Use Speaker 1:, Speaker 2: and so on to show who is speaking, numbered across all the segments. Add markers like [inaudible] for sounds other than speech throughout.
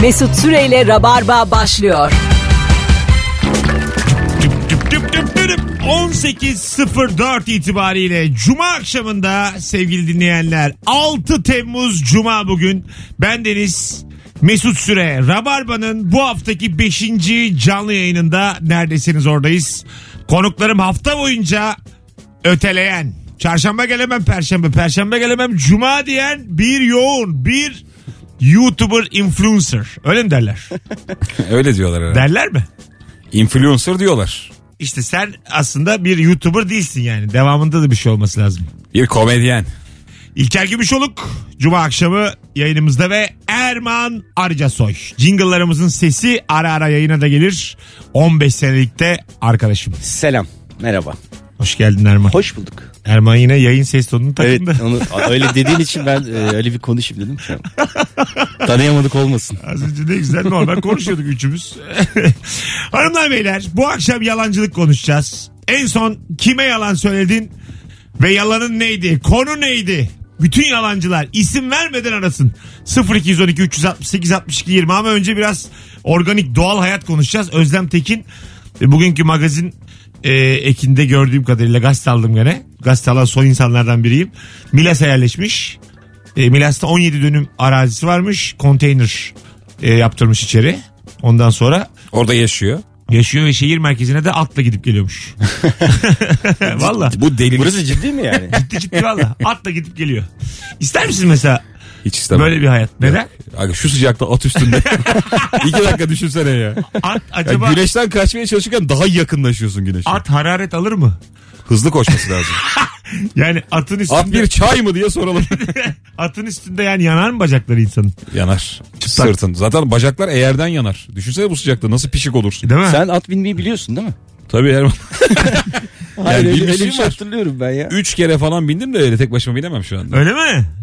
Speaker 1: Mesut Süreyle Rabarba başlıyor.
Speaker 2: Düp düp düp düp düp düp. 18.04 itibariyle Cuma akşamında sevgili dinleyenler 6 Temmuz Cuma bugün bendeniz Mesut Süre Rabarba'nın bu haftaki 5. canlı yayınında neredesiniz oradayız. Konuklarım hafta boyunca öteleyen çarşamba gelemem perşembe perşembe gelemem cuma diyen bir yoğun bir YouTuber influencer öyle mi derler?
Speaker 3: Öyle diyorlar herhalde.
Speaker 2: derler mi?
Speaker 3: Influencer diyorlar.
Speaker 2: İşte sen aslında bir YouTuber değilsin yani. Devamında da bir şey olması lazım.
Speaker 3: Bir komedyen.
Speaker 2: İlker Gümüşoluk Cuma akşamı yayınımızda ve Erman Arıcasoy. Jingle'larımızın sesi ara ara yayına da gelir. 15 senelikte arkadaşım.
Speaker 4: Selam. Merhaba.
Speaker 2: Hoş geldin Erman.
Speaker 4: Hoş bulduk.
Speaker 2: Erman yine yayın ses tonunu
Speaker 4: Evet
Speaker 2: takındı.
Speaker 4: onu öyle dediğin için ben e, öyle bir konuşayım dedim. Tamam. Tanıyamadık olmasın.
Speaker 2: Az önce ne güzel normal konuşuyorduk üçümüz. [laughs] Hanımlar beyler bu akşam yalancılık konuşacağız. En son kime yalan söyledin ve yalanın neydi? Konu neydi? Bütün yalancılar isim vermeden arasın. 0212 368 62 20 ama önce biraz organik doğal hayat konuşacağız. Özlem Tekin e, bugünkü magazin e, ekinde gördüğüm kadarıyla gazete aldım gene. Gazete alan son insanlardan biriyim. Milas'a yerleşmiş. E, Milas'ta 17 dönüm arazisi varmış. Konteyner e, yaptırmış içeri. Ondan sonra
Speaker 3: Orada yaşıyor.
Speaker 2: yaşıyor ve şehir merkezine de atla gidip geliyormuş. [laughs] valla.
Speaker 3: Bu deli.
Speaker 4: Burası ciddi mi yani?
Speaker 2: Ciddi ciddi valla. Atla gidip geliyor. İster misin mesela
Speaker 3: Hiç istemem.
Speaker 2: böyle bir hayat? Neden?
Speaker 3: Aga şu sıcakta at [laughs] üstünde. İki dakika düşünsene ya. Ya
Speaker 2: At acaba...
Speaker 3: güneşten kaçmaya çalışırken daha yakınlaşıyorsun güneşe.
Speaker 2: At hararet alır mı?
Speaker 3: Hızlı koşması lazım.
Speaker 2: Yani atın
Speaker 3: [laughs] at
Speaker 2: üstünde
Speaker 3: bir çay mı diye soralım.
Speaker 2: [laughs] atın üstünde yani yanar mı bacakları insanın?
Speaker 3: [laughs] yanar. Sırtın. Zaten bacaklar eğerden yanar. Düşünsene bu sıcakta nasıl pişik olursun.
Speaker 2: Değil mi?
Speaker 4: [laughs] Sen at binmeyi biliyorsun değil mi?
Speaker 3: Tabii Erman. [laughs]
Speaker 4: Hayır öyle- öyle,
Speaker 3: bilmişliğim
Speaker 4: bir şey
Speaker 3: var.
Speaker 4: hatırlıyorum ben ya.
Speaker 3: Üç kere falan bindim de öyle tek başıma binemem şu anda.
Speaker 2: Öyle mi?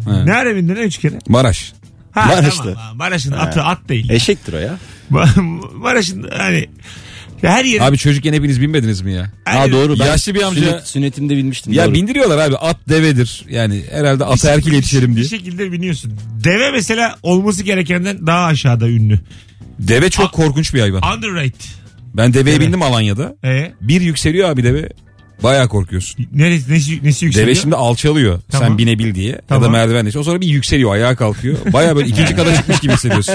Speaker 3: Evet.
Speaker 2: Ne ara bindin lan üç kere?
Speaker 3: Maraş.
Speaker 2: Ha,
Speaker 4: Maraş'ta.
Speaker 2: tamam. Ha, E- Maraş'ın atı at değil.
Speaker 4: Eşektir o ya.
Speaker 2: [laughs] Maraş'ın hani her yeri
Speaker 3: Abi çocukken hepiniz binmediniz mi ya?
Speaker 2: Hayır.
Speaker 4: Ha doğru. Ben
Speaker 3: Yaşlı bir amca-
Speaker 4: sünnet- sünnetimde binmiştim.
Speaker 3: Ya
Speaker 4: doğru.
Speaker 3: bindiriyorlar abi at devedir. Yani herhalde at erkil yetişelim diye.
Speaker 2: Bir şekilde biniyorsun. Deve mesela olması gerekenden daha aşağıda ünlü.
Speaker 3: Deve çok korkunç bir hayvan.
Speaker 2: Underrated.
Speaker 3: Ben deveye
Speaker 2: Deve.
Speaker 3: bindim Alanya'da.
Speaker 2: Ee,
Speaker 3: Bir yükseliyor abi deve. Bayağı korkuyorsun.
Speaker 2: neresi, nesi, nesi yükseliyor?
Speaker 3: Deve şimdi alçalıyor
Speaker 2: Tamam.
Speaker 3: sen binebil diye ya
Speaker 2: Tamam.
Speaker 3: da merdiven O sonra bir yükseliyor ayağa kalkıyor. Bayağı böyle ikinci kata çıkmış gibi hissediyorsun.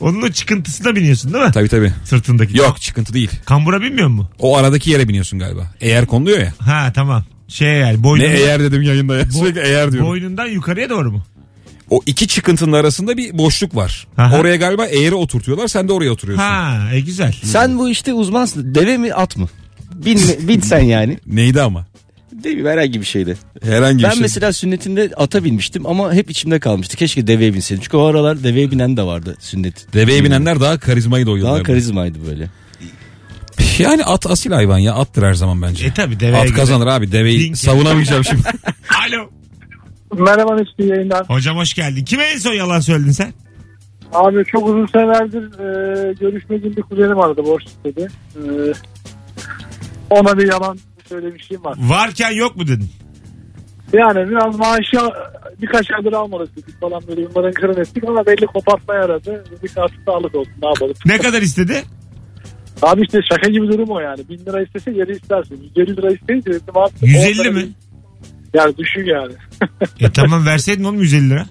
Speaker 2: Onun o çıkıntısına biniyorsun değil mi?
Speaker 3: Tabii tabii.
Speaker 2: Sırtındaki.
Speaker 3: Yok çıkıntı değil.
Speaker 2: Kambura binmiyor mu?
Speaker 3: O aradaki yere biniyorsun galiba. Eğer konuluyor ya.
Speaker 2: Ha tamam. Şey yani
Speaker 3: Ne
Speaker 2: boynundan,
Speaker 3: eğer dedim yayında ya. [laughs] Sürekli eğer diyorum.
Speaker 2: boynundan yukarıya doğru mu?
Speaker 3: O iki çıkıntının arasında bir boşluk var.
Speaker 2: Aha.
Speaker 3: Oraya galiba eğeri oturtuyorlar. Sen de oraya oturuyorsun.
Speaker 2: Ha e, güzel.
Speaker 4: Sen bu işte uzmansın. Deve mi at mı? Bin, bin sen yani.
Speaker 3: Neydi ama?
Speaker 4: Değil mi? Herhangi bir şeydi.
Speaker 3: Herhangi bir
Speaker 4: Ben
Speaker 3: şey.
Speaker 4: mesela sünnetimde ata binmiştim ama hep içimde kalmıştı. Keşke deveye binseydim. Çünkü o aralar deveye binen de vardı sünnet.
Speaker 3: Deveye binenler daha karizmayı da o
Speaker 4: Daha
Speaker 3: yıllarda.
Speaker 4: karizmaydı böyle.
Speaker 3: Yani at asil hayvan ya. Attır her zaman bence.
Speaker 2: E tabi deveye
Speaker 3: at
Speaker 2: göre.
Speaker 3: kazanır abi. Deveyi
Speaker 2: Dink.
Speaker 3: savunamayacağım şimdi.
Speaker 2: Alo.
Speaker 5: Merhaba Mesut iyi yayınlar.
Speaker 2: Hocam hoş geldin. Kime en son yalan söyledin sen?
Speaker 5: Abi çok uzun senelerdir e, görüşmediğim bir kuzenim vardı borç istedi. E, ona bir yalan söylemişliğim var.
Speaker 2: Varken yok mu dedin?
Speaker 5: Yani biraz maaşı birkaç aydır almadık dedik falan böyle bunların kırın ettik ama belli kopartmaya aradı. Dedik artık sağlık olsun ne yapalım.
Speaker 2: Ne kadar istedi?
Speaker 5: Abi işte şaka gibi durum o yani. Bin lira istese geri istersin. 150 lira isteyince dedim abi.
Speaker 2: 150
Speaker 5: on lira
Speaker 2: mi?
Speaker 5: değil. Yani düşün yani.
Speaker 2: E tamam verseydin oğlum 150 lira.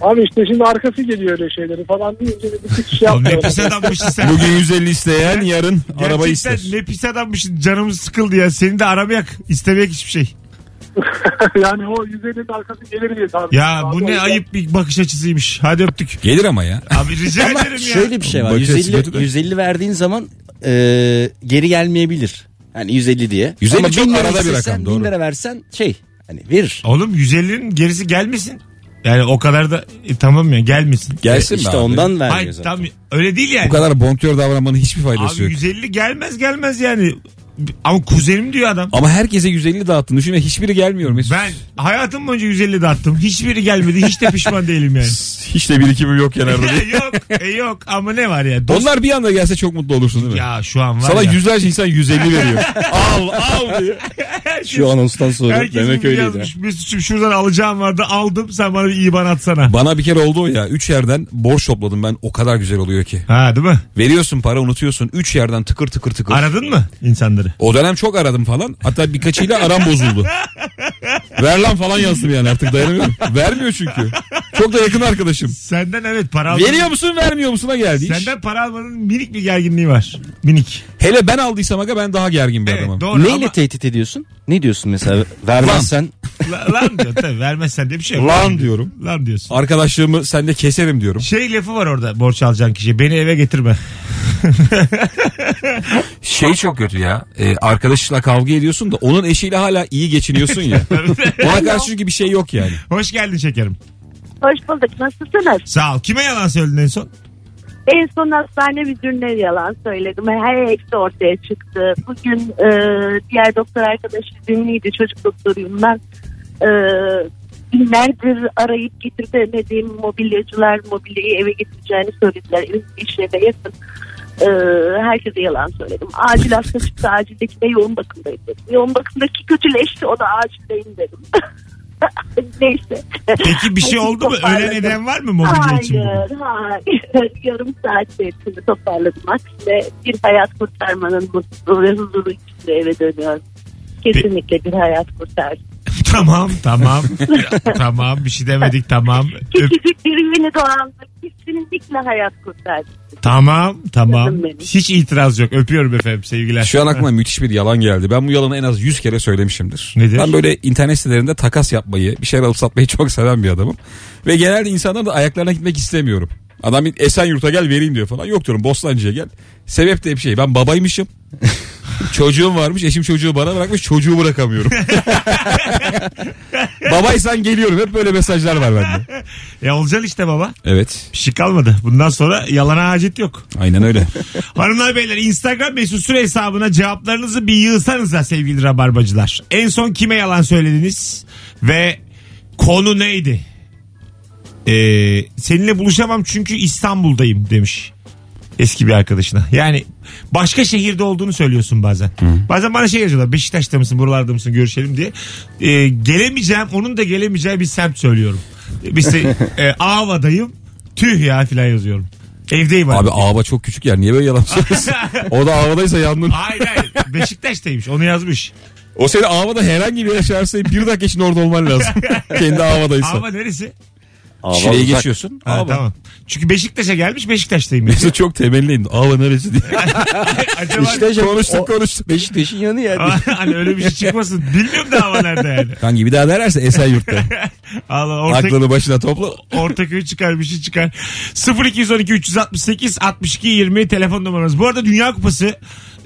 Speaker 5: Abi işte şimdi arkası geliyor öyle şeyleri falan deyince bir tık şey
Speaker 2: Oğlum ne
Speaker 5: yapmıyorum.
Speaker 2: pis adammışsın sen.
Speaker 3: Bugün 150 isteyen yarın
Speaker 2: Gerçekten
Speaker 3: araba ister.
Speaker 2: ne pis adammışsın canımız sıkıldı ya. Seni de aramayak istemeyek hiçbir şey.
Speaker 5: [laughs] yani o 150'nin arkası gelir diye tahmin
Speaker 2: Ya
Speaker 5: ediyorum abi.
Speaker 2: bu
Speaker 5: O
Speaker 2: ne
Speaker 5: yüzden-
Speaker 2: ayıp bir bakış açısıymış. Hadi öptük.
Speaker 3: Gelir ama ya.
Speaker 2: Abi rica
Speaker 4: Ama
Speaker 2: ederim ya.
Speaker 4: şöyle bir şey var.
Speaker 3: Bakış açısı
Speaker 4: 150,
Speaker 3: kötü de.
Speaker 4: 150 verdiğin zaman e, geri gelmeyebilir. Hani 150 diye.
Speaker 3: 150 çok
Speaker 4: 1000 lira
Speaker 3: arada bir
Speaker 4: istesen,
Speaker 3: rakam,
Speaker 4: 1000
Speaker 3: doğru.
Speaker 4: lira versen şey hani verir.
Speaker 2: Oğlum 150'nin gerisi gelmesin. Yani o kadar da e, tamam ya gelmesin.
Speaker 3: [laughs] Gelsin
Speaker 4: işte
Speaker 3: be abi.
Speaker 4: ondan vermiyor
Speaker 2: Hayır
Speaker 4: zaten.
Speaker 2: tam öyle değil yani.
Speaker 3: Bu kadar bonkör davranmanın hiçbir faydası
Speaker 2: Abi
Speaker 3: yok.
Speaker 2: 150 gelmez gelmez yani. Ama kuzenim diyor adam.
Speaker 3: Ama herkese 150 dağıttın. Düşün ve hiçbiri gelmiyor Mesut.
Speaker 2: Ben hayatım boyunca 150 dağıttım. Hiçbiri gelmedi. Hiç de pişman değilim yani.
Speaker 3: Hiç de birikimim yok yanarda diye.
Speaker 2: yok e, yok ama ne var ya. [laughs] Dost...
Speaker 3: Onlar bir anda gelse çok mutlu olursun değil
Speaker 2: [laughs]
Speaker 3: mi?
Speaker 2: Ya şu an var
Speaker 3: Sana
Speaker 2: ya.
Speaker 3: yüzlerce insan 150 veriyor. al al diye.
Speaker 2: Herkes,
Speaker 4: Şu anonstan sonra
Speaker 2: herkesin
Speaker 4: demek
Speaker 2: bir
Speaker 4: öyleydi. ha.
Speaker 2: yazmış. Mesut'cum şuradan alacağım vardı aldım sen bana bir IBAN atsana.
Speaker 3: [laughs] Bana bir kere oldu o ya. Üç yerden borç topladım ben. O kadar güzel oluyor ki.
Speaker 2: Ha değil mi?
Speaker 3: Veriyorsun para unutuyorsun. Üç yerden tıkır tıkır tıkır.
Speaker 2: Aradın mı insanları?
Speaker 3: O dönem çok aradım falan. Hatta birkaçıyla
Speaker 2: [laughs]
Speaker 3: aram bozuldu. Ver lan falan yazdım yani artık dayanamıyorum. Vermiyor çünkü. Çok da yakın arkadaşım.
Speaker 2: Senden evet para almanın,
Speaker 3: Veriyor musun vermiyor musun'a geldi iş.
Speaker 2: senden para almanın minik bir gerginliği var. Minik.
Speaker 3: Hele ben aldıysam aga ben daha gergin bir
Speaker 2: Evet,
Speaker 3: adamım.
Speaker 2: doğru
Speaker 4: Neyle
Speaker 2: ama
Speaker 4: tehdit ediyorsun? Ne diyorsun mesela? Vermezsen
Speaker 2: la- lan diyor tabii vermezsen diye bir şey yok.
Speaker 3: Lan diyorum.
Speaker 2: Lan diyorsun.
Speaker 3: Arkadaşlığımı sende keserim diyorum.
Speaker 2: Şey lafı var orada borç alacağın kişi beni eve getirme.
Speaker 3: Şey çok kötü ya. E, arkadaşla kavga ediyorsun da onun eşiyle hala iyi
Speaker 2: [laughs]
Speaker 3: geçiniyorsun ya. Ona karşı çünkü bir şey yok yani.
Speaker 2: Hoş geldin şekerim.
Speaker 6: Hoş bulduk. Nasılsınız?
Speaker 2: Sağ ol. Kime yalan söyledin en son?
Speaker 6: En son hastane müdürüne yalan söyledim. Her eksi ortaya çıktı. Bugün e, diğer doktor arkadaşım dinliydi. Çocuk doktoruyum ben. E, günlerdir arayıp getirtemediğim mobilyacılar mobilyayı eve getireceğini söylediler. Evim işine de yakın. E, herkese yalan söyledim. Acil hasta çıktı. Acildeki de yoğun bakımdayım dedim. Yoğun bakımdaki kötüleşti. O da acildeyim dedim. [laughs] Neyse.
Speaker 2: Peki bir şey
Speaker 6: Ay,
Speaker 2: oldu mu?
Speaker 6: toparladım.
Speaker 2: Ölen eden var mı mobilya için? bugün?
Speaker 6: Hayır, hayır. [laughs] Yarım saat içinde toparladım. Aksine bir hayat kurtarmanın mutluluğu ve huzuru içinde eve dönüyorum. Kesinlikle bir hayat kurtar.
Speaker 2: tamam tamam. [laughs] tamam bir şey demedik tamam. Öp-
Speaker 6: Küçücük bir ürünü doğandık. Kesinlikle hayat kurtar.
Speaker 2: tamam tamam.
Speaker 6: Canım benim.
Speaker 2: Hiç itiraz yok. Öpüyorum efendim sevgiler.
Speaker 3: Şu an aklıma müthiş bir yalan geldi. Ben bu yalanı en az 100 kere söylemişimdir.
Speaker 2: Nedir?
Speaker 3: Ben böyle internet sitelerinde takas yapmayı, bir şeyler alıp satmayı çok seven bir adamım. Ve genelde insanlar da ayaklarına gitmek istemiyorum. Adam bir Esenyurt'a gel vereyim diyor falan. Yok diyorum Bostancı'ya gel. Sebep de hep şey ben [laughs] babaymışım. Çocuğum varmış eşim çocuğu bana bırakmış çocuğu bırakamıyorum. [laughs] Babaysan geliyorum hep böyle mesajlar var bende.
Speaker 2: [laughs] Ya olacaksın işte baba.
Speaker 3: Evet
Speaker 2: Bir şey kalmadı. Bundan sonra yalana hacet yok.
Speaker 3: aynen öyle.
Speaker 2: Hanımlar beyler Instagram mesut süre hesabına cevaplarınızı bir yığsanız da sevgili rabarbacılar. En son kime yalan söylediniz ve konu neydi? Ee, seninle buluşamam çünkü İstanbul'dayım demiş eski bir arkadaşına. Yani başka şehirde olduğunu söylüyorsun bazen. Bazen bana şey yazıyorlar Beşiktaş'ta mısın buralarda mısın görüşelim diye. Ee, gelemeyeceğim onun da gelemeyeceği bir semt söylüyorum. Biz de e, Ava'dayım tüh ya filan yazıyorum. Evdeyim
Speaker 3: Abi ağaba çok küçük yer niye böyle [laughs] yalan söylüyorsun?
Speaker 2: [laughs]
Speaker 3: o da ağabadaysa yandın.
Speaker 2: Hayır hayır. Beşiktaş'taymış. Onu yazmış.
Speaker 3: O seni havada herhangi bir yaşarsa bir dakika için orada olman lazım.
Speaker 2: [laughs]
Speaker 3: Kendi havadaysa.
Speaker 2: Ama neresi?
Speaker 4: Ava
Speaker 3: Şile'yi
Speaker 4: uzak.
Speaker 3: geçiyorsun.
Speaker 2: Ha,
Speaker 3: [laughs] Ava.
Speaker 2: tamam. Çünkü Beşiktaş'a gelmiş Beşiktaş'tayım. yani.
Speaker 3: Mesut çok temelli indi. Ava neresi diye. [laughs]
Speaker 2: Acaba
Speaker 4: Beşiktaş
Speaker 3: konuştuk konuştuk.
Speaker 4: Beşiktaş'ın yanı yani.
Speaker 2: [laughs] hani öyle bir şey çıkmasın. Bilmiyorum da hava nerede yani.
Speaker 3: Kanki bir daha
Speaker 2: [laughs]
Speaker 3: derlerse Esenyurt'ta.
Speaker 2: Allah orta,
Speaker 3: Aklını başına topla.
Speaker 2: Ortaköy çıkar bir şey çıkar. 0212 368 62 20 telefon numaramız. Bu arada Dünya Kupası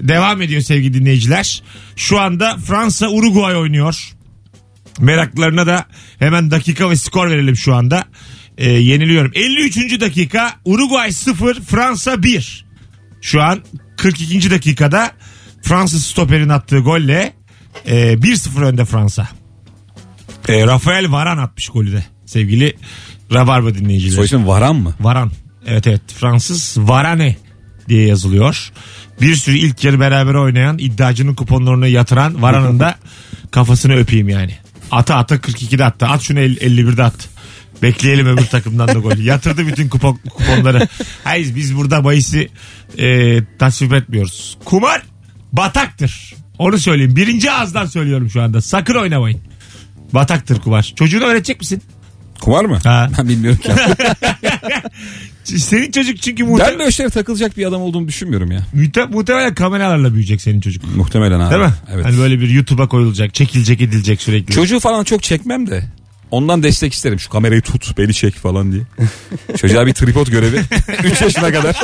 Speaker 2: devam ediyor sevgili dinleyiciler. Şu anda Fransa Uruguay oynuyor. Meraklarına da hemen dakika ve skor verelim şu anda. Ee, yeniliyorum. 53. dakika Uruguay 0 Fransa 1. Şu an 42. dakikada Fransız stoperin attığı golle e, 1-0 önde Fransa. E, Rafael Varan atmış golü de sevgili Rabarba dinleyicileri.
Speaker 3: Soy isim Varan mı?
Speaker 2: Varan. Evet evet Fransız Varane diye yazılıyor. Bir sürü ilk yarı beraber oynayan iddiacının kuponlarını yatıran Varan'ın da kafasını öpeyim yani. Ata ata 42'de attı. At şunu el- 51'de at. Bekleyelim öbür takımdan da golü. Yatırdı bütün kupon, kuponları. Hayır biz burada bahisi e, tasvip etmiyoruz. Kumar bataktır. Onu söyleyeyim. Birinci ağızdan söylüyorum şu anda. Sakın oynamayın. Bataktır kumar. Çocuğuna öğretecek misin?
Speaker 3: Kumar mı?
Speaker 2: Ha.
Speaker 3: Ben bilmiyorum
Speaker 2: [laughs]
Speaker 3: ki.
Speaker 2: Senin çocuk çünkü
Speaker 3: ben
Speaker 2: muhtemelen...
Speaker 3: de o işlere takılacak bir adam olduğumu düşünmüyorum ya.
Speaker 2: Müte, muhtemelen kameralarla büyüyecek senin çocuk.
Speaker 3: Muhtemelen abi.
Speaker 2: Değil mi?
Speaker 3: Evet.
Speaker 2: Hani böyle bir YouTube'a koyulacak, çekilecek, edilecek sürekli.
Speaker 3: Çocuğu falan çok çekmem de. Ondan destek isterim. Şu kamerayı tut, beni çek falan [laughs] diye. Çocuğa bir tripod
Speaker 2: [laughs]
Speaker 3: görevi. 3 yaşına kadar.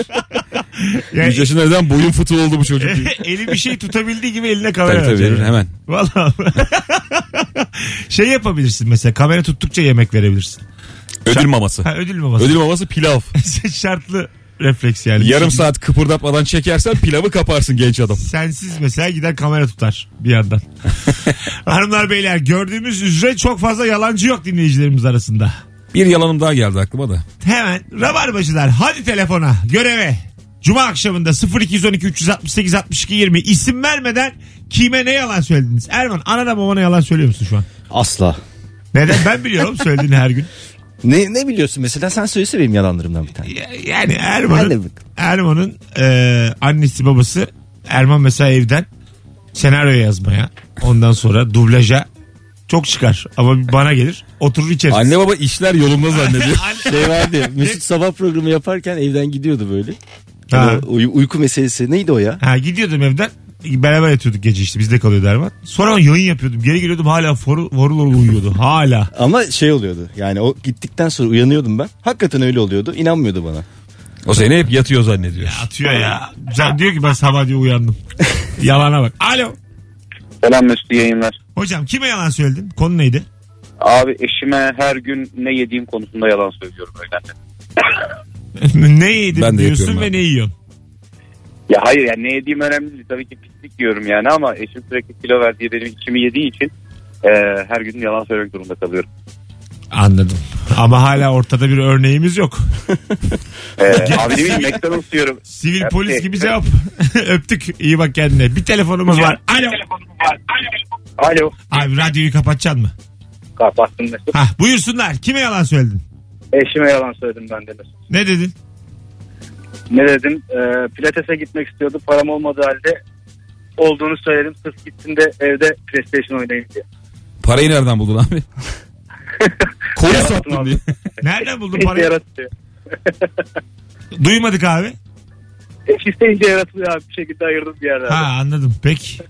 Speaker 2: Yani
Speaker 3: 3 yaşına neden boyun fıtığı oldu bu çocuk diye.
Speaker 2: [laughs] eli bir şey tutabildiği gibi eline kamera
Speaker 3: Tabii tabii
Speaker 2: verecek.
Speaker 3: verir hemen.
Speaker 2: Vallahi. [laughs] şey yapabilirsin mesela kamera tuttukça yemek verebilirsin.
Speaker 3: Ödül maması.
Speaker 2: Ha, ödül mü basın? [laughs]
Speaker 3: Ödül maması [laughs] pilav.
Speaker 2: Şartlı refleks yani. şey
Speaker 3: Yarım
Speaker 2: Çünkü
Speaker 3: saat kıpırdatmadan çekersen pilavı kaparsın genç adam.
Speaker 2: Sensiz mesela gider kamera tutar bir
Speaker 3: [laughs]
Speaker 2: yandan. Hanımlar beyler gördüğümüz üzere çok fazla yalancı yok dinleyicilerimiz arasında.
Speaker 3: Bir yalanım daha geldi aklıma da.
Speaker 2: Hemen rabarbacılar hadi telefona göreve. Cuma akşamında 0212 368 62 20 isim vermeden kime ne yalan söylediniz? Erman anana babana yalan söylüyor musun şu an?
Speaker 4: Asla.
Speaker 2: Neden? Ben biliyorum söylediğini her gün.
Speaker 4: Ne, ne biliyorsun mesela sen söylese benim yalanlarımdan bir tane.
Speaker 2: Ya- Yani
Speaker 4: Hadi
Speaker 2: Erman'ın
Speaker 4: bakalım.
Speaker 2: Erman'ın e, annesi babası Erman mesela evden senaryo yazmaya ondan sonra dublaja çok çıkar ama bana gelir oturur içeriz.
Speaker 3: Anne baba işler yolunda [laughs] zannediyor.
Speaker 2: Anne-
Speaker 4: Şey vardı ya Mesut sabah programı yaparken evden gidiyordu böyle. Hani
Speaker 2: Ha.
Speaker 4: O uy- uyku meselesi neydi o ya?
Speaker 2: Ha, gidiyordum evden beraber yatıyorduk gece işte bizde kalıyordu Erman. Sonra yayın yapıyordum geri geliyordum hala foru, vorul vorul uyuyordu hala.
Speaker 4: Ama şey oluyordu yani o gittikten sonra uyanıyordum ben. Hakikaten öyle oluyordu inanmıyordu bana.
Speaker 3: o seni hep yatıyor zannediyor.
Speaker 2: Atıyor ya. Sen diyor ki ben sabah diyor uyandım. [laughs] Yalana bak. Alo.
Speaker 7: Selam Mesut iyi yayınlar.
Speaker 2: Hocam kime yalan söyledin? Konu [laughs] neydi?
Speaker 7: Abi eşime her gün ne yediğim konusunda yalan söylüyorum öğlenle.
Speaker 2: ne yedin
Speaker 3: Ben de
Speaker 2: diyorsun
Speaker 3: yapıyorum
Speaker 2: ve ne
Speaker 3: abi.
Speaker 2: yiyorsun?
Speaker 7: Ya hayır yani ne yediğim önemli değil. Tabii ki pislik yiyorum yani ama eşim sürekli kilo verdiği benim içimi yediği için e, her gün yalan söylemek durumunda kalıyorum.
Speaker 2: Anladım. Ama hala ortada bir örneğimiz yok. [laughs]
Speaker 7: E, abi ne bileyim McDonald's yiyorum.
Speaker 2: Sivil
Speaker 7: Ya,
Speaker 2: polis
Speaker 7: şey-
Speaker 2: gibi cevap. [laughs] Öptük. İyi bak kendine. Bir telefonumuz var. Alo.
Speaker 7: Alo.
Speaker 2: Abi radyoyu kapatacaksın mı?
Speaker 7: Kapattın Mesut.
Speaker 2: Hah buyursunlar. Kime yalan söyledin?
Speaker 7: Eşime yalan söyledim ben de Mesut.
Speaker 2: Ne dedin?
Speaker 7: Ne dedim? E, pilatese gitmek istiyordu. Param olmadığı halde olduğunu söyledim. Sırf gittim de evde PlayStation oynayayım diye.
Speaker 3: Parayı nereden buldun abi? [laughs] Koyu
Speaker 7: Yalan
Speaker 3: sattın
Speaker 7: abi.
Speaker 3: diye.
Speaker 2: Nereden buldun
Speaker 7: İşte
Speaker 2: parayı?
Speaker 7: yaratıyor.
Speaker 2: Duymadık abi.
Speaker 7: Eş E, isteyince yaratılıyor abi. Bir şekilde ayırdım bir yerden.
Speaker 2: Ha anladım. Peki.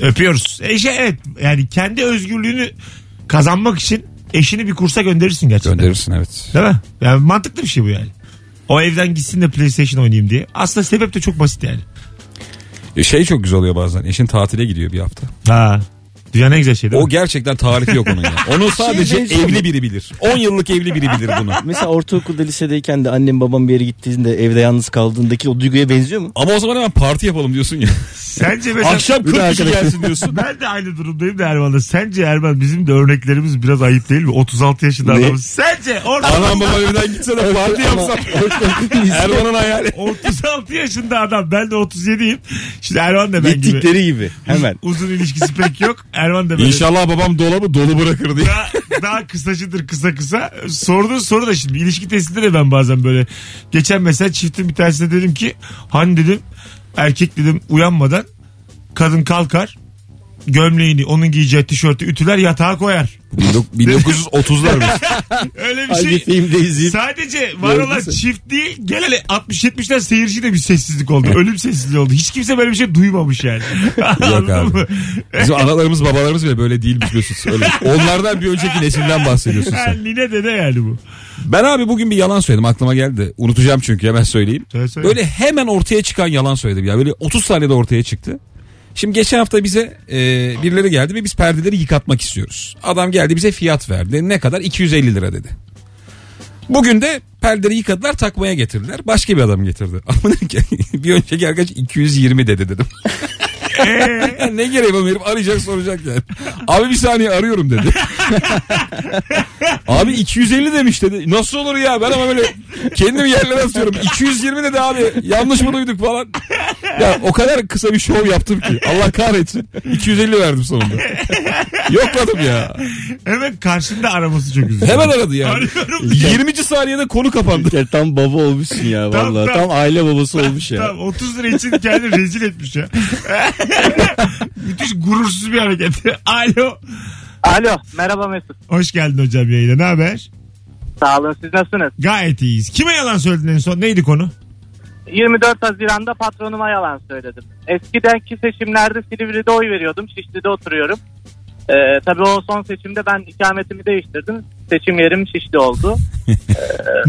Speaker 2: Öpüyoruz. Eşe evet yani kendi özgürlüğünü kazanmak için eşini bir kursa gönderirsin gerçekten.
Speaker 3: Gönderirsin evet.
Speaker 2: Değil mi? Yani mantıklı bir şey bu yani. O evden gitsin de PlayStation oynayayım diye. Aslında sebep de çok basit yani.
Speaker 3: E, Şey çok güzel oluyor bazen. Eşin tatile gidiyor bir hafta.
Speaker 2: Ha. Dünya ne güzel şey değil
Speaker 3: O
Speaker 2: mi?
Speaker 3: gerçekten tarifi yok [laughs] onun ya. Onu sadece
Speaker 4: benziyor.
Speaker 3: evli biri bilir. 10 yıllık evli biri bilir bunu.
Speaker 4: Mesela ortaokulda lisedeyken de annem babam bir yere gittiğinde evde yalnız kaldığındaki o duyguya benziyor mu?
Speaker 3: Ama o zaman hemen parti yapalım diyorsun ya.
Speaker 2: Sence mesela...
Speaker 3: Akşam 40 kişi
Speaker 4: arkadaş.
Speaker 3: gelsin diyorsun.
Speaker 2: Ben de aynı durumdayım da Erman'da. Sence Erman bizim de örneklerimiz biraz ayıp değil mi? 36 yaşında
Speaker 4: Ne?
Speaker 2: adamız. Sence orada
Speaker 3: Anam babam evden gitse de parti yapsam. Erman'ın hayali.
Speaker 2: 36 yaşında adam. Ben de 37'yim. Şimdi Erman da ben gibi.
Speaker 4: Gittikleri gibi [laughs] hemen.
Speaker 2: Uzun ilişkisi pek yok. Erman da böyle.
Speaker 3: İnşallah babam dolabı dolu bırakır [laughs] diye.
Speaker 2: daha, daha kısacıdır kısa kısa. Sorduğun soru da şimdi ilişki testinde de ben bazen böyle. Geçen mesela çiftin bir tanesine dedim ki hani dedim erkek dedim uyanmadan kadın kalkar gömleğini onun giyeceği tişörtü ütüler yatağa kolar.
Speaker 3: [laughs] 1930'lar
Speaker 2: Öyle bir
Speaker 4: Hangi
Speaker 2: şey.
Speaker 4: filmde izleyip
Speaker 2: Sadece var
Speaker 4: Gördün
Speaker 2: olan
Speaker 4: sen.
Speaker 2: çift değil gel hele 60-70'ler seyircide bir sessizlik oldu. Ölüm sessizliği oldu. Hiç kimse böyle bir şey duymamış yani. Anladın
Speaker 3: abi.
Speaker 2: mı?
Speaker 3: Bizim analarımız babalarımız bile böyle değilmiş Mesut. [laughs] Öyle. Onlardan bir önceki nesilden bahsediyorsun
Speaker 2: Ha,
Speaker 3: sen.
Speaker 2: Nine dede yani bu.
Speaker 3: Ben abi bugün bir yalan söyledim aklıma geldi. Unutacağım çünkü hemen söyleyeyim.
Speaker 2: Söyle, söyle.
Speaker 3: Böyle hemen ortaya çıkan yalan söyledim ya. Böyle 30 saniyede ortaya çıktı. Şimdi geçen hafta bize e, birileri geldi ve biz perdeleri yıkatmak istiyoruz. Adam geldi bize fiyat verdi. Ne kadar? 250 lira dedi. Bugün de perdeleri yıkadılar takmaya getirdiler. Başka bir adam getirdi. [laughs] Ama dedim ki bir önceki arkadaş 220 dedi dedim.
Speaker 2: [laughs] Ee,
Speaker 3: [laughs] Ya ne gereği var herif arayacak soracak yani. Abi bir saniye arıyorum dedi. abi 250 demiş dedi. Nasıl olur ya ben ama böyle kendimi yerlere atıyorum. 220 dedi abi yanlış mı duyduk falan. Ya o kadar kısa bir şov yaptım ki Allah kahretsin. 250 verdim sonunda. Yokladım ya.
Speaker 2: hemen karşında araması çok üzücü.
Speaker 3: Hemen aradı yani.
Speaker 2: Arıyorum
Speaker 3: 20. saniyede konu kapandı.
Speaker 4: Ya tam baba olmuşsun ya
Speaker 2: Tam,
Speaker 4: vallahi.
Speaker 2: tam.
Speaker 4: Tam, aile babası olmuş ya.
Speaker 2: Tamam 30 lira için kendini rezil etmiş ya. [laughs] Müthiş gurursuz bir hareket. [laughs] Alo.
Speaker 5: Alo merhaba Mesut.
Speaker 2: Hoş geldin hocam yayına. Ne haber?
Speaker 5: Sağ olun siz nasılsınız?
Speaker 2: Gayet iyiyiz. Kime yalan söyledin en son? Neydi konu?
Speaker 5: 24 Haziran'da patronuma yalan söyledim. Eskidenki seçimlerde Silivri'de oy veriyordum. Şişli'de oturuyorum. Ee, tabii o son seçimde ben ikametimi değiştirdim. Seçim yerim Şişli oldu.
Speaker 2: Niye,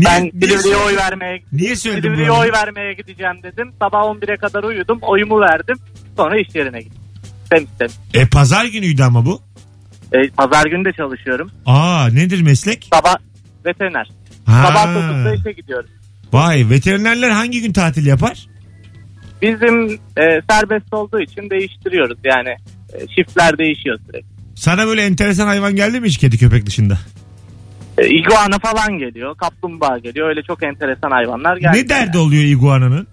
Speaker 5: Ben
Speaker 2: niye,
Speaker 5: Silivri'ye oy vermeye
Speaker 2: niye söyledin
Speaker 5: Silivri'ye
Speaker 2: bunu?
Speaker 5: oy vermeye gideceğim dedim. Sabah 11'e kadar uyudum. Oyumu verdim. Sonra iş yerine gittim. Temiz temiz.
Speaker 2: E pazar günüydü ama bu.
Speaker 5: Ee, pazar günü de çalışıyorum.
Speaker 2: Aa nedir meslek?
Speaker 5: Sabah veteriner.
Speaker 2: Ha.
Speaker 5: Sabah 9'da işe gidiyoruz.
Speaker 2: Vay veterinerler hangi gün tatil yapar?
Speaker 5: Bizim e, serbest olduğu için değiştiriyoruz. Yani e, shiftler değişiyor sürekli.
Speaker 2: Sana böyle enteresan hayvan geldi mi hiç kedi köpek dışında?
Speaker 5: E, iguana falan geliyor. Kaplumbağa geliyor. Öyle çok enteresan hayvanlar geldi.
Speaker 2: ne derdi oluyor iguananın?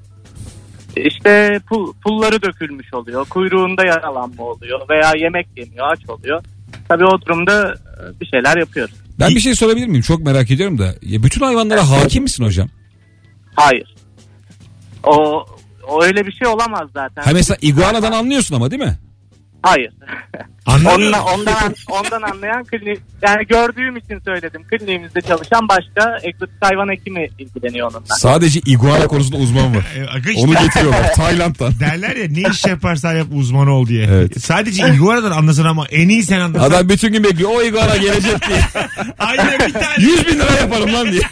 Speaker 5: İşte pul, pulları dökülmüş oluyor. Kuyruğunda yaralanma oluyor veya yemek yemiyor, aç oluyor. Tabii o durumda e, bir şeyler yapıyoruz.
Speaker 3: Ben bir şey sorabilir miyim? Çok merak ediyorum da. Ya bütün hayvanlara hakim misin hocam?
Speaker 5: Hayır. O, o öyle bir şey olamaz zaten.
Speaker 3: Ha mesela iguanadan anlıyorsun ama değil mi? [laughs]
Speaker 5: Hayır.
Speaker 2: Anlamıyorum.
Speaker 5: Ondan, ondan, ondan anlayan klinik, yani gördüğüm için söyledim. Kliniğimizde çalışan başka egzotik hayvan hekimi ilgileniyor onunla.
Speaker 3: Sadece iguana konusunda
Speaker 2: [laughs]
Speaker 3: uzman var.
Speaker 2: Ee, aga işte
Speaker 3: Onu getiriyorlar Tayland'dan.
Speaker 2: derler ya ne iş yaparsan yap uzman ol diye.
Speaker 3: Evet.
Speaker 2: Sadece iguanadan anlasın ama en iyi sen anlasın.
Speaker 3: Adam bütün gün bekliyor. O iguana gelecek [laughs] diye.
Speaker 2: Ayda
Speaker 3: [laughs]
Speaker 2: bir tane.
Speaker 3: 100 bin lira yaparım lan diye.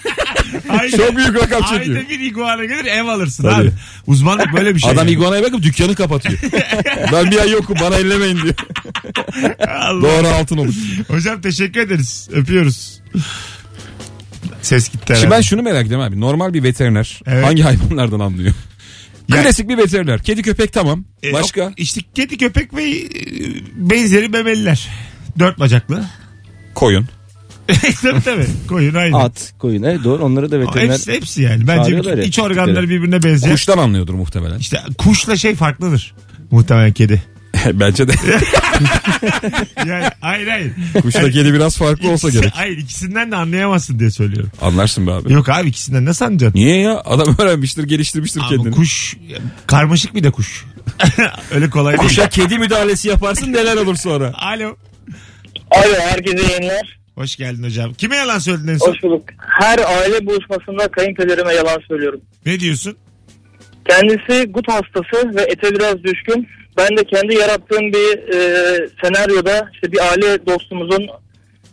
Speaker 2: ayda,
Speaker 3: Çok büyük rakam çekiyor.
Speaker 2: Ayda bir iguana gelir ev alırsın
Speaker 3: Tabii.
Speaker 2: abi. Uzmanlık böyle bir şey.
Speaker 3: Adam
Speaker 2: yani.
Speaker 3: iguanaya bakıp dükkanı [laughs] kapatıyor. ben bir ay yokum bana ellemeyin diyor.
Speaker 2: Allah.
Speaker 3: Doğru altın olur.
Speaker 2: Hocam teşekkür ederiz. Öpüyoruz. Ses gitti
Speaker 3: Şimdi ben
Speaker 2: herhalde.
Speaker 3: şunu merak ediyorum abi. Normal bir veteriner
Speaker 2: Evet.
Speaker 3: hangi hayvanlardan anlıyor?
Speaker 2: Ya-
Speaker 3: Klasik bir veteriner. Kedi köpek tamam.
Speaker 2: Ee,
Speaker 3: Başka?
Speaker 2: yok, İşte kedi köpek ve e, benzeri memeliler. Dört bacaklı. [laughs]
Speaker 3: Koyun.
Speaker 2: tabii tabii. Koyun aynı.
Speaker 4: At, koyun. Evet doğru onları da veteriner.
Speaker 2: Hepsi, hepsi yani. Bence
Speaker 4: Çağırıyorlar
Speaker 2: bütün
Speaker 4: ya
Speaker 2: iç organları
Speaker 4: tipleri.
Speaker 2: birbirine benziyor.
Speaker 3: Kuştan anlıyordur muhtemelen.
Speaker 2: İşte kuşla şey farklıdır. Muhtemelen kedi.
Speaker 3: Bence [laughs] de.
Speaker 2: Yani hayır hayır.
Speaker 3: Kuşla kedi biraz farklı olsa
Speaker 2: İkisi-
Speaker 3: gerek.
Speaker 2: Hayır ikisinden de anlayamazsın diye söylüyorum.
Speaker 3: [laughs] Anlarsın be abi.
Speaker 2: Yok abi ikisinden nasıl anlayacaksın?
Speaker 3: Niye ya? Adam öğrenmiştir, geliştirmiştir
Speaker 2: Abi
Speaker 3: kendini.
Speaker 2: kuş karmaşık bir de kuş. [laughs] Öyle kolay değil.
Speaker 3: Kuşa kedi müdahalesi yaparsın neler olur sonra.
Speaker 2: Alo.
Speaker 8: Alo herkese yayınlar.
Speaker 2: Hoş geldin hocam. Kime yalan söyledin en son?
Speaker 8: Hoş bulduk. Her aile buluşmasında kayınpederime yalan söylüyorum.
Speaker 2: Ne diyorsun?
Speaker 8: Kendisi gut hastası ve ete biraz düşkün. Ben de kendi yarattığım bir e, senaryoda işte bir aile dostumuzun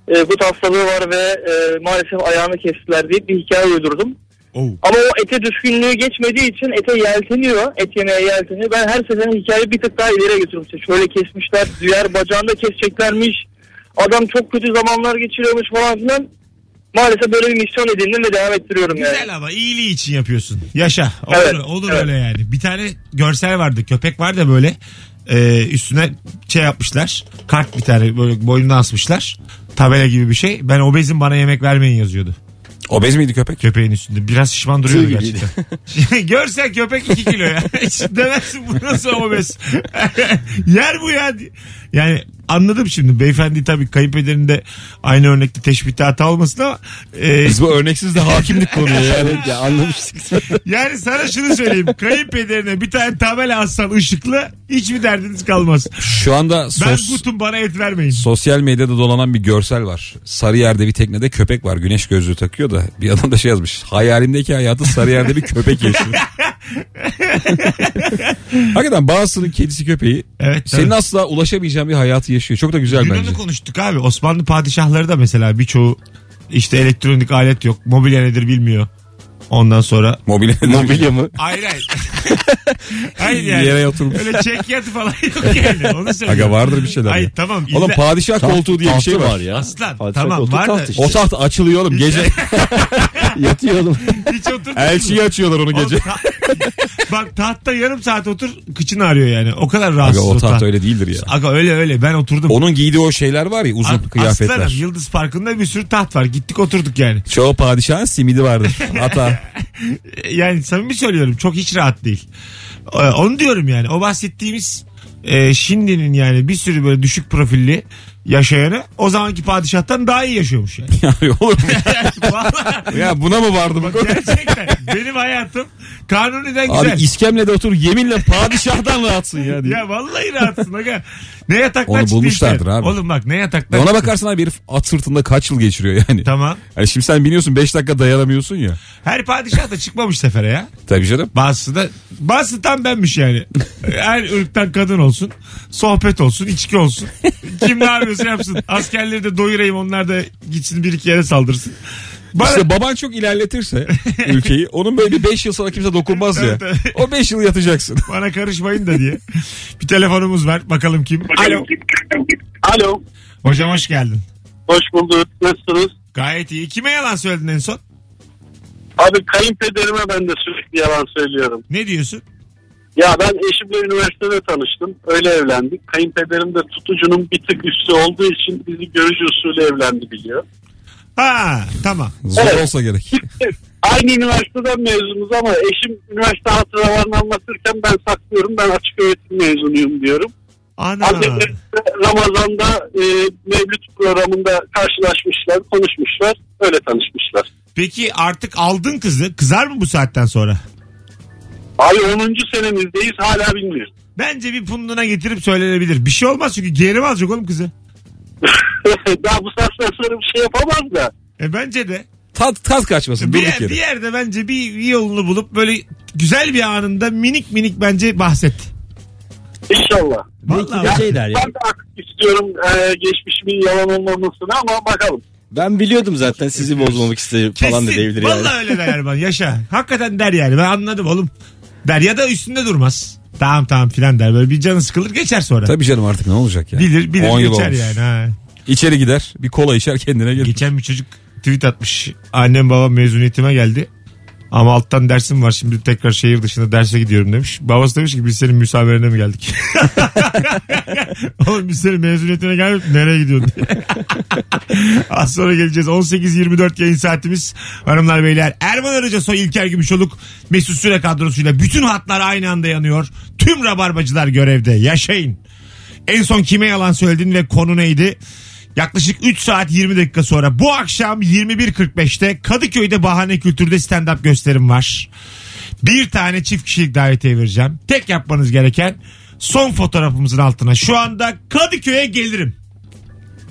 Speaker 8: e, gut hastalığı var ve e, maalesef ayağını kestiler deyip bir hikaye uydurdum.
Speaker 2: Oh.
Speaker 8: Ama o ete düşkünlüğü geçmediği için ete yelteniyor. Et yemeye yelteniyor. Ben her seferin hikayeyi bir tık daha ileriye getiriyorum. İşte şöyle kesmişler. Diğer bacağında keseceklermiş. Adam çok kötü zamanlar geçiriyormuş falan filan. Maalesef böyle bir misyon edindim ve devam ettiriyorum yani.
Speaker 2: Güzel ama iyiliği için yapıyorsun. Yaşa. Olur,
Speaker 8: Evet,
Speaker 2: olur
Speaker 8: evet.
Speaker 2: öyle yani. Bir tane görsel vardı. Köpek var da böyle. e, üstüne şey yapmışlar. Kart bir tane böyle boynuna asmışlar. Tabela gibi bir şey. Ben obezim bana yemek vermeyin yazıyordu.
Speaker 3: Obez miydi köpek?
Speaker 2: Köpeğin üstünde. Biraz şişman duruyordu
Speaker 4: Tüy gibiydi.
Speaker 2: gerçekten. [laughs] Görsen köpek 2 kilo ya. [laughs] Hiç Demezsin bu nasıl obez. [laughs] Yer bu ya. Yani anladım şimdi. Beyefendi tabii kayınpederinde aynı örnekte teşbihte hata olmasın ama e,
Speaker 3: Biz bu [laughs] örneksiz
Speaker 2: [laughs]
Speaker 3: de hakimlik konuyor yani.
Speaker 4: Evet ya anlamıştık.
Speaker 2: Yani sana şunu söyleyeyim. Kayınpederine bir tane tabela assan ışıklı hiçbir derdiniz kalmaz.
Speaker 3: Şu anda
Speaker 2: Ben
Speaker 3: sos,
Speaker 2: kutum bana et vermeyin.
Speaker 3: sosyal medyada dolanan bir görsel var. Sarıyer'de bir teknede köpek var. Güneş gözlüğü takıyor da bir adam da şey yazmış. Hayalimdeki hayatı Sarıyer'de bir köpek
Speaker 2: [laughs]
Speaker 3: yaşıyor. Hakikaten bazısının kedisi köpeği
Speaker 2: Evet.
Speaker 3: senin
Speaker 2: tabii.
Speaker 3: asla ulaşamayacağın bir hayatı yaşıyor. Çok da güzel
Speaker 2: Dün onu
Speaker 3: bence.
Speaker 2: konuştuk abi. Osmanlı padişahları da mesela birçoğu işte elektronik alet yok. Mobilya nedir bilmiyor. Ondan sonra
Speaker 3: Mobilya.
Speaker 4: Mobilya mı?
Speaker 2: hayır hayır. hayır [laughs]
Speaker 3: Bir
Speaker 2: yani.
Speaker 3: Yere oturmuş.
Speaker 2: Öyle çekyatı falan yok yani. Onu söylüyorum.
Speaker 3: Aga vardır bir şeyler.
Speaker 2: Hayır
Speaker 3: ya.
Speaker 2: tamam.
Speaker 3: Oğlum
Speaker 2: illa-
Speaker 3: padişah koltuğu diye bir şey
Speaker 4: Tahtı
Speaker 3: var.
Speaker 4: ya.
Speaker 2: Aslan,
Speaker 4: Padişah
Speaker 2: tamam,
Speaker 4: koltuğu
Speaker 2: var da-
Speaker 4: taht işte.
Speaker 3: O taht açılıyor oğlum gece.
Speaker 4: Yatıyor [laughs] oğlum.
Speaker 2: [laughs] hiç oturdun mu?
Speaker 3: Elçiyi açıyorlar onu
Speaker 2: Oğlum [laughs]
Speaker 3: gece.
Speaker 2: ta- Bak tahtta yarım saat otur kıçın ağrıyor yani. O kadar rahatsız
Speaker 3: Aga o
Speaker 2: taht.
Speaker 3: taht öyle değildir ya.
Speaker 2: Aga öyle öyle ben oturdum.
Speaker 3: Onun giydiği o şeyler var ya uzun
Speaker 2: A-
Speaker 3: kıyafetler.
Speaker 2: Aslanım Yıldız Parkı'nda bir sürü taht var. Gittik oturduk yani.
Speaker 3: Çoğu padişahın simidi vardır. Ata.
Speaker 2: E, Yani samimi söylüyorum çok hiç rahat değil. E, Onu diyorum yani. O bahsettiğimiz e, şimdinin yani bir sürü böyle düşük profilli yaşayanı o zamanki padişahtan daha iyi yaşıyormuş yani. [laughs]
Speaker 3: [laughs] yani olur mu?
Speaker 2: Yani vallahi-
Speaker 3: Ya buna mı vardı
Speaker 2: Bak
Speaker 3: bu?
Speaker 2: gerçekten benim hayatım kanuniden
Speaker 3: Abi
Speaker 2: güzel.
Speaker 3: iskemlede otur yeminle padişahdan rahatsın ya. diye.
Speaker 2: ya vallahi rahatsın aga. Ne yataklar
Speaker 3: Onu
Speaker 2: çıktı
Speaker 3: bulmuşlardır
Speaker 2: işte.
Speaker 3: abi.
Speaker 2: Oğlum bak ne yataklar
Speaker 3: Ona
Speaker 2: çıktı.
Speaker 3: bakarsın abi herif at sırtında kaç yıl geçiriyor yani.
Speaker 2: Tamam.
Speaker 3: Yani şimdi sen biniyorsun 5 dakika dayanamıyorsun ya.
Speaker 2: Her padişah da çıkmamış sefere ya.
Speaker 3: Tabii canım.
Speaker 2: Bazısı da bazısı tam benmiş yani. Her ırktan kadın olsun. Sohbet olsun, içki olsun. Kim ne yapıyorsa yapsın. Askerleri de doyurayım onlar da gitsin bir iki yere saldırsın. Bana,
Speaker 3: İşte baban
Speaker 2: [laughs]
Speaker 3: çok ilerletirse ülkeyi onun böyle bir 5 yıl sonra kimse dokunmaz ya.
Speaker 2: Evet, evet.
Speaker 3: O 5 yıl yatacaksın.
Speaker 2: bana karışmayın da diye. Bir telefonumuz var. Bakalım kim? Alo.
Speaker 8: Alo.
Speaker 2: Hocam hoş geldin.
Speaker 8: Hoş bulduk. Nasılsınız?
Speaker 2: Gayet iyi. Kime yalan söyledin en son?
Speaker 8: Abi kayınpederime ben de sürekli yalan söylüyorum.
Speaker 2: Ne diyorsun?
Speaker 8: Ya ben eşimle üniversitede tanıştım. Öyle evlendik. Kayınpederim de tutucunun bir tık üstü olduğu için bizi görücü usulü evlendi biliyor.
Speaker 2: Ha tamam.
Speaker 3: Zor
Speaker 8: Evet.
Speaker 3: olsa gerek.
Speaker 8: [laughs] Aynı üniversiteden mezunuz ama eşim üniversite hatıralarını anlatırken ben saklıyorum. Ben açık öğretim mezunuyum diyorum.
Speaker 2: Ana.
Speaker 8: Annemler Ramazan'da e, Mevlüt programında karşılaşmışlar, konuşmuşlar. Öyle tanışmışlar.
Speaker 2: Peki artık aldın kızı. Kızar mı bu saatten sonra?
Speaker 8: Ay 10. senemizdeyiz hala bilmiyoruz.
Speaker 2: Bence bir punduna getirip söylenebilir. Bir şey olmaz çünkü geri mi alacak oğlum kızı?
Speaker 8: [laughs] Daha bu saatten sonra bir şey yapamaz da.
Speaker 2: E bence de.
Speaker 3: Tat, tat kaçmasın
Speaker 2: Bir,
Speaker 3: durduk
Speaker 2: yer- bir
Speaker 3: yere.
Speaker 2: yerde bence bir bir yolunu bulup böyle güzel bir anında minik minik bence bahset.
Speaker 8: İnşallah.
Speaker 4: Belki
Speaker 2: Vallahi
Speaker 4: de
Speaker 2: bak-
Speaker 4: şey der ya.
Speaker 8: Ben de artık istiyorum e, geçmişimin yalan olmamasını ama bakalım.
Speaker 4: Ben biliyordum zaten sizi bozmamak istedim falan da
Speaker 2: Kesin.
Speaker 4: diyebilir yani.
Speaker 2: Vallahi öyle der Erman. Yaşa. Hakikaten der yani. Ben anladım oğlum. Der ya da üstünde durmaz. Tamam tamam filan der. Böyle bir canı sıkılır geçer sonra.
Speaker 3: Tabii canım artık ne olacak ya?
Speaker 2: Bilir bilir
Speaker 3: 10 yıl
Speaker 2: geçer
Speaker 3: olmuş.
Speaker 2: yani. Ha.
Speaker 3: İçeri gider bir kola içer kendine gelir.
Speaker 2: Geçen bir çocuk tweet atmış. Annem babam mezuniyetime geldi. Ama alttan dersim var şimdi tekrar şehir dışında derse gidiyorum demiş. Babası demiş ki biz senin müsamerene mi geldik? [laughs] Oğlum biz senin mezuniyetine gelmedik nereye gidiyorsun diye. [laughs] Az sonra geleceğiz. 18.24 yayın saatimiz. Hanımlar beyler Erman Arıca Soy İlker Gümüşoluk Mesut Süre kadrosuyla bütün hatlar aynı anda yanıyor. Tüm rabarbacılar görevde. Yaşayın. En son kime yalan söyledin ve konu neydi? Yaklaşık 3 saat 20 dakika sonra bu akşam 21.45'te Kadıköy'de Bahane Kültür'de stand-up gösterim var. Bir tane çift kişilik davetiye vereceğim. Tek yapmanız gereken son fotoğrafımızın altına şu anda Kadıköy'e gelirim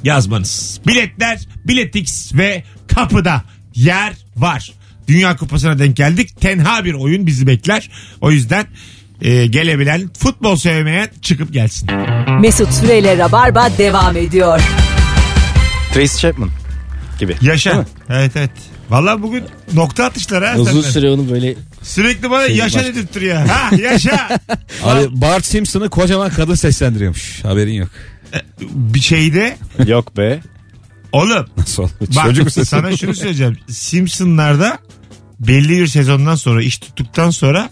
Speaker 2: yazmanız. Biletler, biletix ve kapıda yer var. Dünya Kupası'na denk geldik. Tenha bir oyun bizi bekler. O yüzden e, gelebilen futbol sevmeyen çıkıp gelsin.
Speaker 1: Mesut Süreyle Rabarba devam ediyor.
Speaker 4: Tracy Chapman gibi. Değil
Speaker 2: Yaşa.
Speaker 4: mi?
Speaker 2: Evet evet. Valla bugün nokta atışlar ha.
Speaker 4: Uzun
Speaker 2: senden.
Speaker 4: süre onu böyle
Speaker 2: Sürekli bana
Speaker 4: Şey,
Speaker 2: yaşa
Speaker 4: baş-
Speaker 2: dedirtiyor. Ha yaşa.
Speaker 3: Abi Bart Simpson'ı kocaman kadın seslendiriyormuş. Haberin yok.
Speaker 2: bir şeyde
Speaker 4: yok be.
Speaker 2: oğlum
Speaker 3: Nasıl oldu?
Speaker 2: bak
Speaker 3: Çocuk sesi.
Speaker 2: sana şunu söyleyeceğim. Simpsonlarda belli bir sezondan sonra iş tuttuktan sonra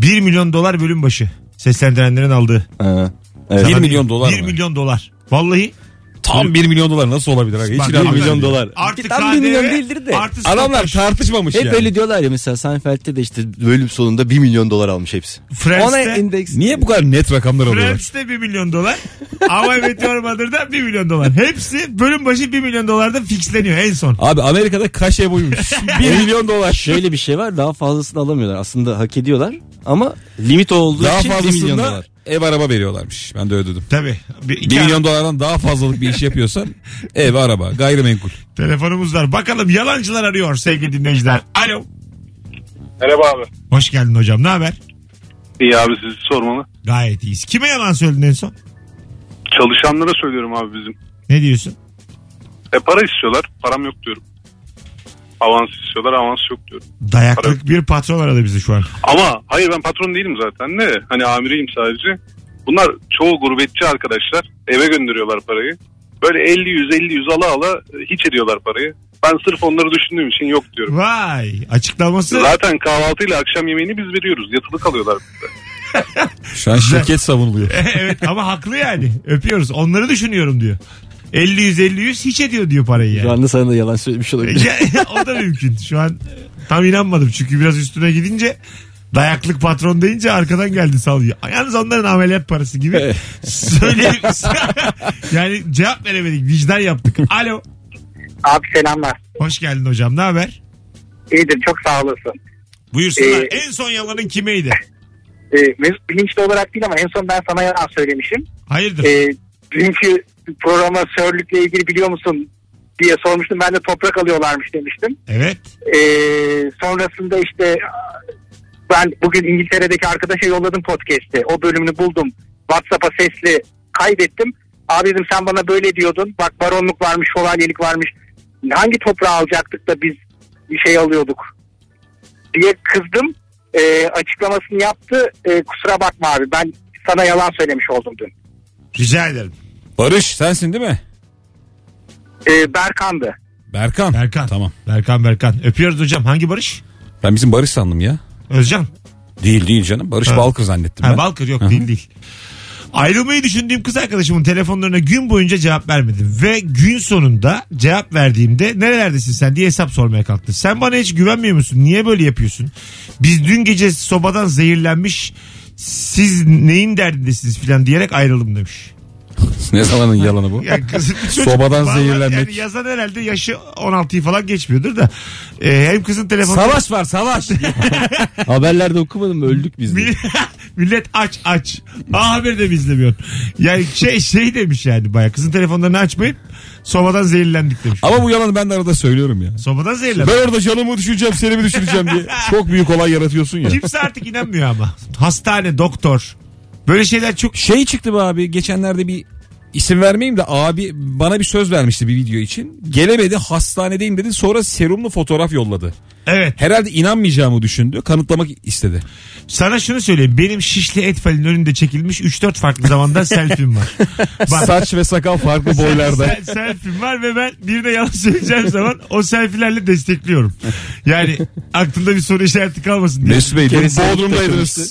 Speaker 2: 1 milyon dolar bölüm başı seslendirenlerin aldığı.
Speaker 4: Ha, evet.
Speaker 2: Sana
Speaker 3: 1
Speaker 2: bir-
Speaker 3: milyon dolar
Speaker 2: 1
Speaker 3: mı?
Speaker 2: milyon dolar. Vallahi
Speaker 3: Tam 1 milyon dolar nasıl olabilir? Abi? Hiç
Speaker 2: Bak,
Speaker 3: inanmıyorum.
Speaker 2: bir milyon
Speaker 4: dolar.
Speaker 2: artı
Speaker 4: Tam bir
Speaker 2: KDV,
Speaker 4: milyon değildir de.
Speaker 2: artı
Speaker 3: Adamlar
Speaker 2: stopaj.
Speaker 3: tartışmamış
Speaker 4: Hep
Speaker 3: yani.
Speaker 4: öyle diyorlar ya mesela Seinfeld'de de işte bölüm sonunda 1 milyon dolar almış hepsi. Ona
Speaker 2: Friends'te,
Speaker 4: endeks.
Speaker 3: Niye bu kadar net rakamlar alıyorlar?
Speaker 2: Friends'te 1 milyon dolar. Ama Meteor Mother'da 1 milyon dolar. Hepsi bölüm başı 1 milyon dolarda fixleniyor en son.
Speaker 3: Abi Amerika'da
Speaker 2: [laughs]
Speaker 3: kaşe buymuş. 1 milyon dolar.
Speaker 4: Şöyle bir şey var daha fazlasını alamıyorlar. Aslında hak ediyorlar ama limit olduğu
Speaker 3: Daha
Speaker 4: için 1 milyon
Speaker 3: fazlasında
Speaker 4: dolar.
Speaker 3: ev araba veriyorlarmış. Ben de ödedim.
Speaker 2: Tabii. Bir, iki
Speaker 3: 1 milyon dolardan daha fazlalık bir
Speaker 2: [laughs]
Speaker 3: iş yapıyorsan ev, araba, gayrimenkul.
Speaker 2: Telefonumuz var. Bakalım yalancılar arıyor sevgili dinleyiciler. Alo.
Speaker 8: Merhaba abi.
Speaker 2: Hoş geldin hocam. Ne haber?
Speaker 8: İyi abi sizi sormalı.
Speaker 2: Gayet iyiyiz. Kime yalan söyledin en son?
Speaker 8: Çalışanlara söylüyorum abi bizim.
Speaker 2: Ne diyorsun?
Speaker 8: E para istiyorlar. Param yok diyorum. Avans istiyorlar. Avans yok diyorum.
Speaker 2: Dayaklık bir patron aradı bizi şu an.
Speaker 8: Ama hayır ben patron değilim zaten de. Hani amiriyim sadece. Bunlar çoğu gurbetçi arkadaşlar. Eve gönderiyorlar parayı. Böyle 50, 150, 100 ala ala e, hiç ediyorlar parayı. Ben sırf onları düşündüğüm için yok diyorum.
Speaker 2: Vay açıklaması.
Speaker 8: Zaten kahvaltıyla akşam yemeğini biz veriyoruz. Yatılı kalıyorlar bizde.
Speaker 3: Şu an şirket
Speaker 2: [laughs]
Speaker 3: savunuluyor.
Speaker 2: [laughs] evet ama haklı yani. Öpüyoruz. Onları düşünüyorum diyor. 50 100 50 100 hiç ediyor diyor parayı
Speaker 4: Şu
Speaker 2: yani.
Speaker 4: anda sana da yalan söylemiş olabilir.
Speaker 2: Ya, o da mümkün. Şu an tam inanmadım çünkü biraz üstüne gidince dayaklık patron deyince arkadan geldi sallıyor. Yalnız onların ameliyat parası gibi söyleyeyim. [laughs] yani cevap veremedik. Vicdan yaptık. Alo.
Speaker 5: Abi selamlar.
Speaker 2: Hoş geldin hocam. Ne haber?
Speaker 5: İyidir çok sağ olasın.
Speaker 2: Buyursunlar.
Speaker 5: Ee,
Speaker 2: en son yalanın kimeydi?
Speaker 5: Ee, Mesut bilinçli olarak değil ama en son ben sana yalan söylemişim.
Speaker 2: Hayırdır?
Speaker 8: e,
Speaker 5: Ee, dünkü programa sörlükle ilgili biliyor musun diye sormuştum. Ben de toprak alıyorlarmış demiştim.
Speaker 2: evet.
Speaker 5: Ee, sonrasında işte ben bugün İngiltere'deki arkadaşa yolladım podcast'i. O bölümünü buldum. WhatsApp'a sesli kaydettim. Abi dedim sen bana böyle diyordun. Bak baronluk varmış, şövalyelik varmış. Hangi toprağı alacaktık da biz bir şey alıyorduk diye kızdım. Ee, açıklamasını yaptı. Ee, kusura bakma abi ben sana yalan söylemiş oldum dün.
Speaker 2: Rica ederim.
Speaker 3: Barış sensin değil mi?
Speaker 5: Ee, Berkan'dı.
Speaker 3: Berkan.
Speaker 2: Berkan.
Speaker 3: Tamam.
Speaker 2: Berkan Berkan. Öpüyoruz hocam. Hangi Barış?
Speaker 3: Ben bizim Barış sandım ya.
Speaker 2: Özcan.
Speaker 3: Değil değil canım. Barış
Speaker 2: Ha.
Speaker 3: Balkır zannettim
Speaker 2: Ha,
Speaker 3: ben.
Speaker 2: Balkır yok
Speaker 3: Hı hı.
Speaker 2: değil değil. Ayrılmayı düşündüğüm kız arkadaşımın telefonlarına gün boyunca cevap vermedim. Ve gün sonunda cevap verdiğimde nerelerdesin sen diye hesap sormaya kalktı. Sen bana hiç güvenmiyor musun? Niye böyle yapıyorsun? Biz dün gece sobadan zehirlenmiş siz neyin derdindesiniz filan diyerek ayrıldım demiş.
Speaker 3: [laughs] ne zamanın yalanı bu?
Speaker 2: Yani kız- bir çocuk
Speaker 3: [laughs] Sobadan
Speaker 2: vallahi
Speaker 3: zehirlenmek.
Speaker 2: Yani yazan herhalde yaşı 16'yı falan geçmiyordur da. Ee, hem kızın telefonu...
Speaker 3: Savaş
Speaker 2: [laughs]
Speaker 3: var savaş.
Speaker 4: Haberlerde okumadım mı? öldük biz. de.
Speaker 2: Millet- [laughs] Millet aç aç. A haberi de mi izlemiyorsun? Yani şey şey demiş yani baya. Kızın telefonlarını açmayıp sobadan zehirlendik demiş.
Speaker 3: Ama bu yalanı ben de arada söylüyorum ya.
Speaker 2: Sobadan zehirlendik.
Speaker 3: Ben orada canımı düşüreceğim seni mi düşüreceğim diye. Çok büyük olay yaratıyorsun ya.
Speaker 2: Kimse artık inanmıyor ama. Hastane, doktor. Böyle şeyler çok...
Speaker 3: Şey çıktı be abi geçenlerde bir isim vermeyeyim de abi bana bir söz vermişti bir video için. Gelemedi hastanedeyim dedi sonra serumlu fotoğraf yolladı.
Speaker 2: Evet.
Speaker 3: Herhalde inanmayacağımı düşündü kanıtlamak istedi.
Speaker 2: Sana şunu söyleyeyim. Benim şişli etfalin önünde çekilmiş 3-4 farklı
Speaker 3: [laughs]
Speaker 2: zamanda selfie'm var. Bak,
Speaker 3: Saç ve sakal farklı boylarda.
Speaker 2: Sel- selfie'm var ve ben birine yalan söyleyeceğim zaman o selfie'lerle destekliyorum. Yani aklında bir soru işareti kalmasın diye.
Speaker 3: Mesut Bey dün
Speaker 4: Kendisi
Speaker 3: Bodrum'daydınız.
Speaker 4: takılmıştı.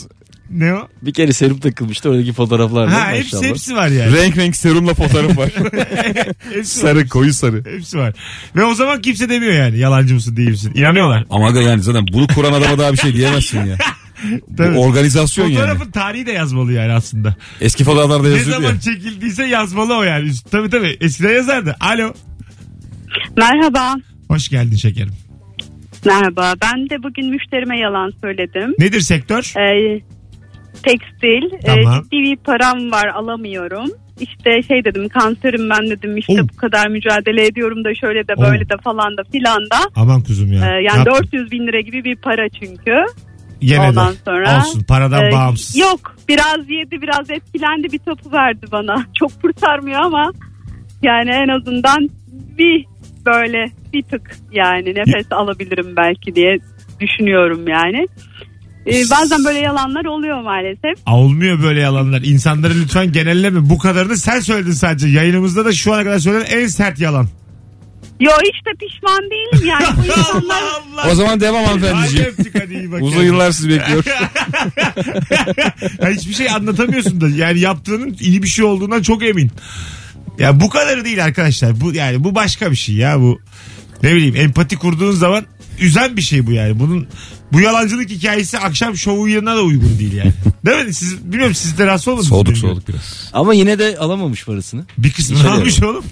Speaker 2: Ne o?
Speaker 4: Bir kere serum takılmıştı oradaki fotoğraflar var
Speaker 2: Ha hepsi,
Speaker 4: maşallah.
Speaker 2: hepsi var yani.
Speaker 3: Renk renk serumla fotoğraf var.
Speaker 2: Hepsi var.
Speaker 3: sarı koyu sarı.
Speaker 2: Hepsi var. Ve o zaman kimse demiyor yani yalancı mısın değil misin? İnanıyorlar.
Speaker 3: Ama aga yani zaten bunu kuran adama daha bir şey diyemezsin ya. Bu
Speaker 2: Tabii.
Speaker 3: organizasyon yani.
Speaker 2: Fotoğrafın tarihi de yazmalı yani aslında.
Speaker 3: Eski fotoğraflarda
Speaker 2: Ne
Speaker 3: yazıyordu
Speaker 2: zaman
Speaker 3: ya.
Speaker 2: çekildiyse yazmalı o yani. Üst- Tabii tabii. Eskiden yazardı. Alo.
Speaker 9: Merhaba.
Speaker 2: Hoş geldin şekerim.
Speaker 9: Merhaba. Ben de bugün müşterime yalan söyledim.
Speaker 2: Nedir sektör?
Speaker 9: Ee, tekstil. Ee,
Speaker 2: Tamam.
Speaker 9: ciddi bir param var alamıyorum. İşte şey dedim kanserim ben dedim işte
Speaker 2: Oo.
Speaker 9: bu kadar mücadele ediyorum da şöyle de
Speaker 2: Oo.
Speaker 9: böyle de falan da filan da.
Speaker 2: Aman kuzum ya.
Speaker 9: Ee,
Speaker 2: Ne
Speaker 9: yani
Speaker 2: yaptın?
Speaker 9: 400 bin lira gibi bir para çünkü.
Speaker 2: Yemedi.
Speaker 9: ondan sonra-
Speaker 2: Olsun paradan
Speaker 9: Ee,
Speaker 2: bağımsız.
Speaker 9: Yok biraz yedi biraz etkilendi bir topu verdi bana. [laughs] Çok kurtarmıyor ama yani en azından bir böyle bir tık yani nefes alabilirim belki diye düşünüyorum yani. Ee, bazen böyle yalanlar oluyor maalesef.
Speaker 2: Aa, Olmuyor böyle yalanlar. İnsanları lütfen genelleme. Bu kadarını sen söyledin sadece. Yayınımızda da şu ana kadar söylenen en sert yalan.
Speaker 9: Yo işte pişman değilim yani
Speaker 6: [laughs]
Speaker 9: bu insanlar
Speaker 2: Allah Allah.
Speaker 3: O zaman devam
Speaker 2: Hadi
Speaker 3: hanımefendiciğim.
Speaker 2: öptük hadi iyi bak.
Speaker 3: Uzun
Speaker 2: kendine.
Speaker 3: yıllar sizi bekliyor.
Speaker 2: [laughs] Ya hiçbir şey anlatamıyorsun da yani yaptığının iyi bir şey olduğundan çok emin. Ya bu kadarı değil arkadaşlar. Bu yani bu başka bir şey ya bu. Ne bileyim empati kurduğun zaman üzen bir şey bu yani. Bunun bu yalancılık hikayesi akşam şovu yanına da uygun değil
Speaker 3: [laughs]
Speaker 2: yani. Değil mi? Siz bilmiyorum siz de rahatsız olmadınız.
Speaker 3: [laughs] Soğuduk
Speaker 2: Bilmiyorum.
Speaker 3: soğuduk biraz.
Speaker 4: Ama yine de alamamış parasını.
Speaker 2: Bir kısmını
Speaker 4: İşe de
Speaker 2: almış oğlum.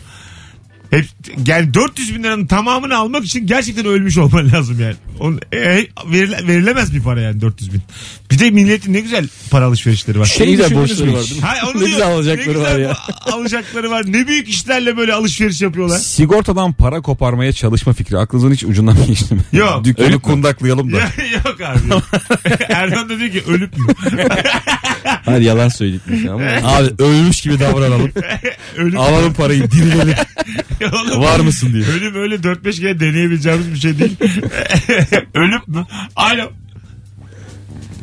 Speaker 2: Hep yani 400 bin liranın tamamını almak için gerçekten ölmüş olman lazım yani. Onun, e, verile- verilemez bir para yani 400 bin. Bir de milletin ne güzel para alışverişleri var.
Speaker 4: Şey de
Speaker 3: düşündünüz
Speaker 4: borçları
Speaker 3: mü
Speaker 4: var
Speaker 3: hiç?
Speaker 4: değil mi?
Speaker 2: Hayır, onu
Speaker 4: Ne güzel
Speaker 2: diyorum.
Speaker 4: alacakları
Speaker 2: Ne güzel
Speaker 4: var ya.
Speaker 2: bu- Alacakları var. Ne büyük işlerle böyle alışveriş yapıyorlar.
Speaker 3: Sigortadan para koparmaya çalışma fikri aklınızın hiç ucundan mı geçti mi?
Speaker 2: Yok.
Speaker 3: [laughs] Dükkanı kundaklayalım da.
Speaker 2: Ya, [laughs] yok
Speaker 4: [laughs]
Speaker 2: abi. Erdoğan da diyor ki ölüp mü?
Speaker 4: Hayır yalan [laughs] söyledik ama.
Speaker 3: Abi ölmüş gibi davranalım.
Speaker 2: Ölüp
Speaker 3: Alalım parayı dirilelim.
Speaker 2: Oğlum,
Speaker 3: Var mısın diye.
Speaker 2: Ölüm öyle 4-5 kere deneyebileceğimiz bir şey değil. [laughs] ölüp mü? Alo.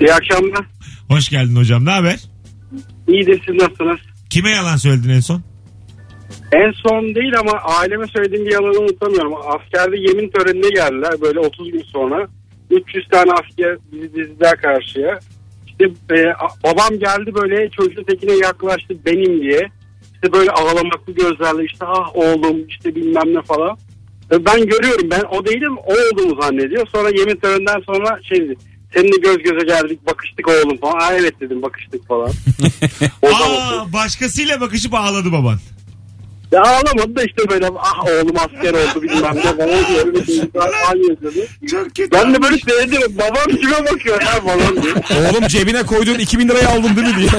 Speaker 8: İyi akşamlar.
Speaker 2: Hoş geldin hocam. Ne haber?
Speaker 8: İyidir siz nasılsınız?
Speaker 2: Kime yalan söyledin en son?
Speaker 8: En son değil ama aileme söylediğim bir yalanı unutamıyorum. Askerde yemin törenine geldiler böyle 30 gün sonra. 300 tane asker bizi dizdiler karşıya. İşte e, a- babam geldi böyle çocuğun tekine yaklaştı benim diye. İşte böyle ağlamaklı gözlerle işte ah oğlum işte bilmem ne falan. E, Ben görüyorum ben o değilim o olduğumu zannediyor. Sonra yemin töreninden sonra şey dedi. Seninle göz göze geldik bakıştık oğlum falan. Aa, evet dedim bakıştık falan. o zaman
Speaker 2: Aa, başkasıyla bakışıp ağladı baban.
Speaker 8: ya ağlamadı da işte böyle ah oğlum asker oldu bilmem ne falan diye öyle bir şey falan yazıyordu.
Speaker 2: Çok kötü.
Speaker 8: Ben de böyle seyrediyorum babam kime bakıyor ya falan diye.
Speaker 3: Oğlum cebine koyduğun 2000 lirayı aldın değil mi diye.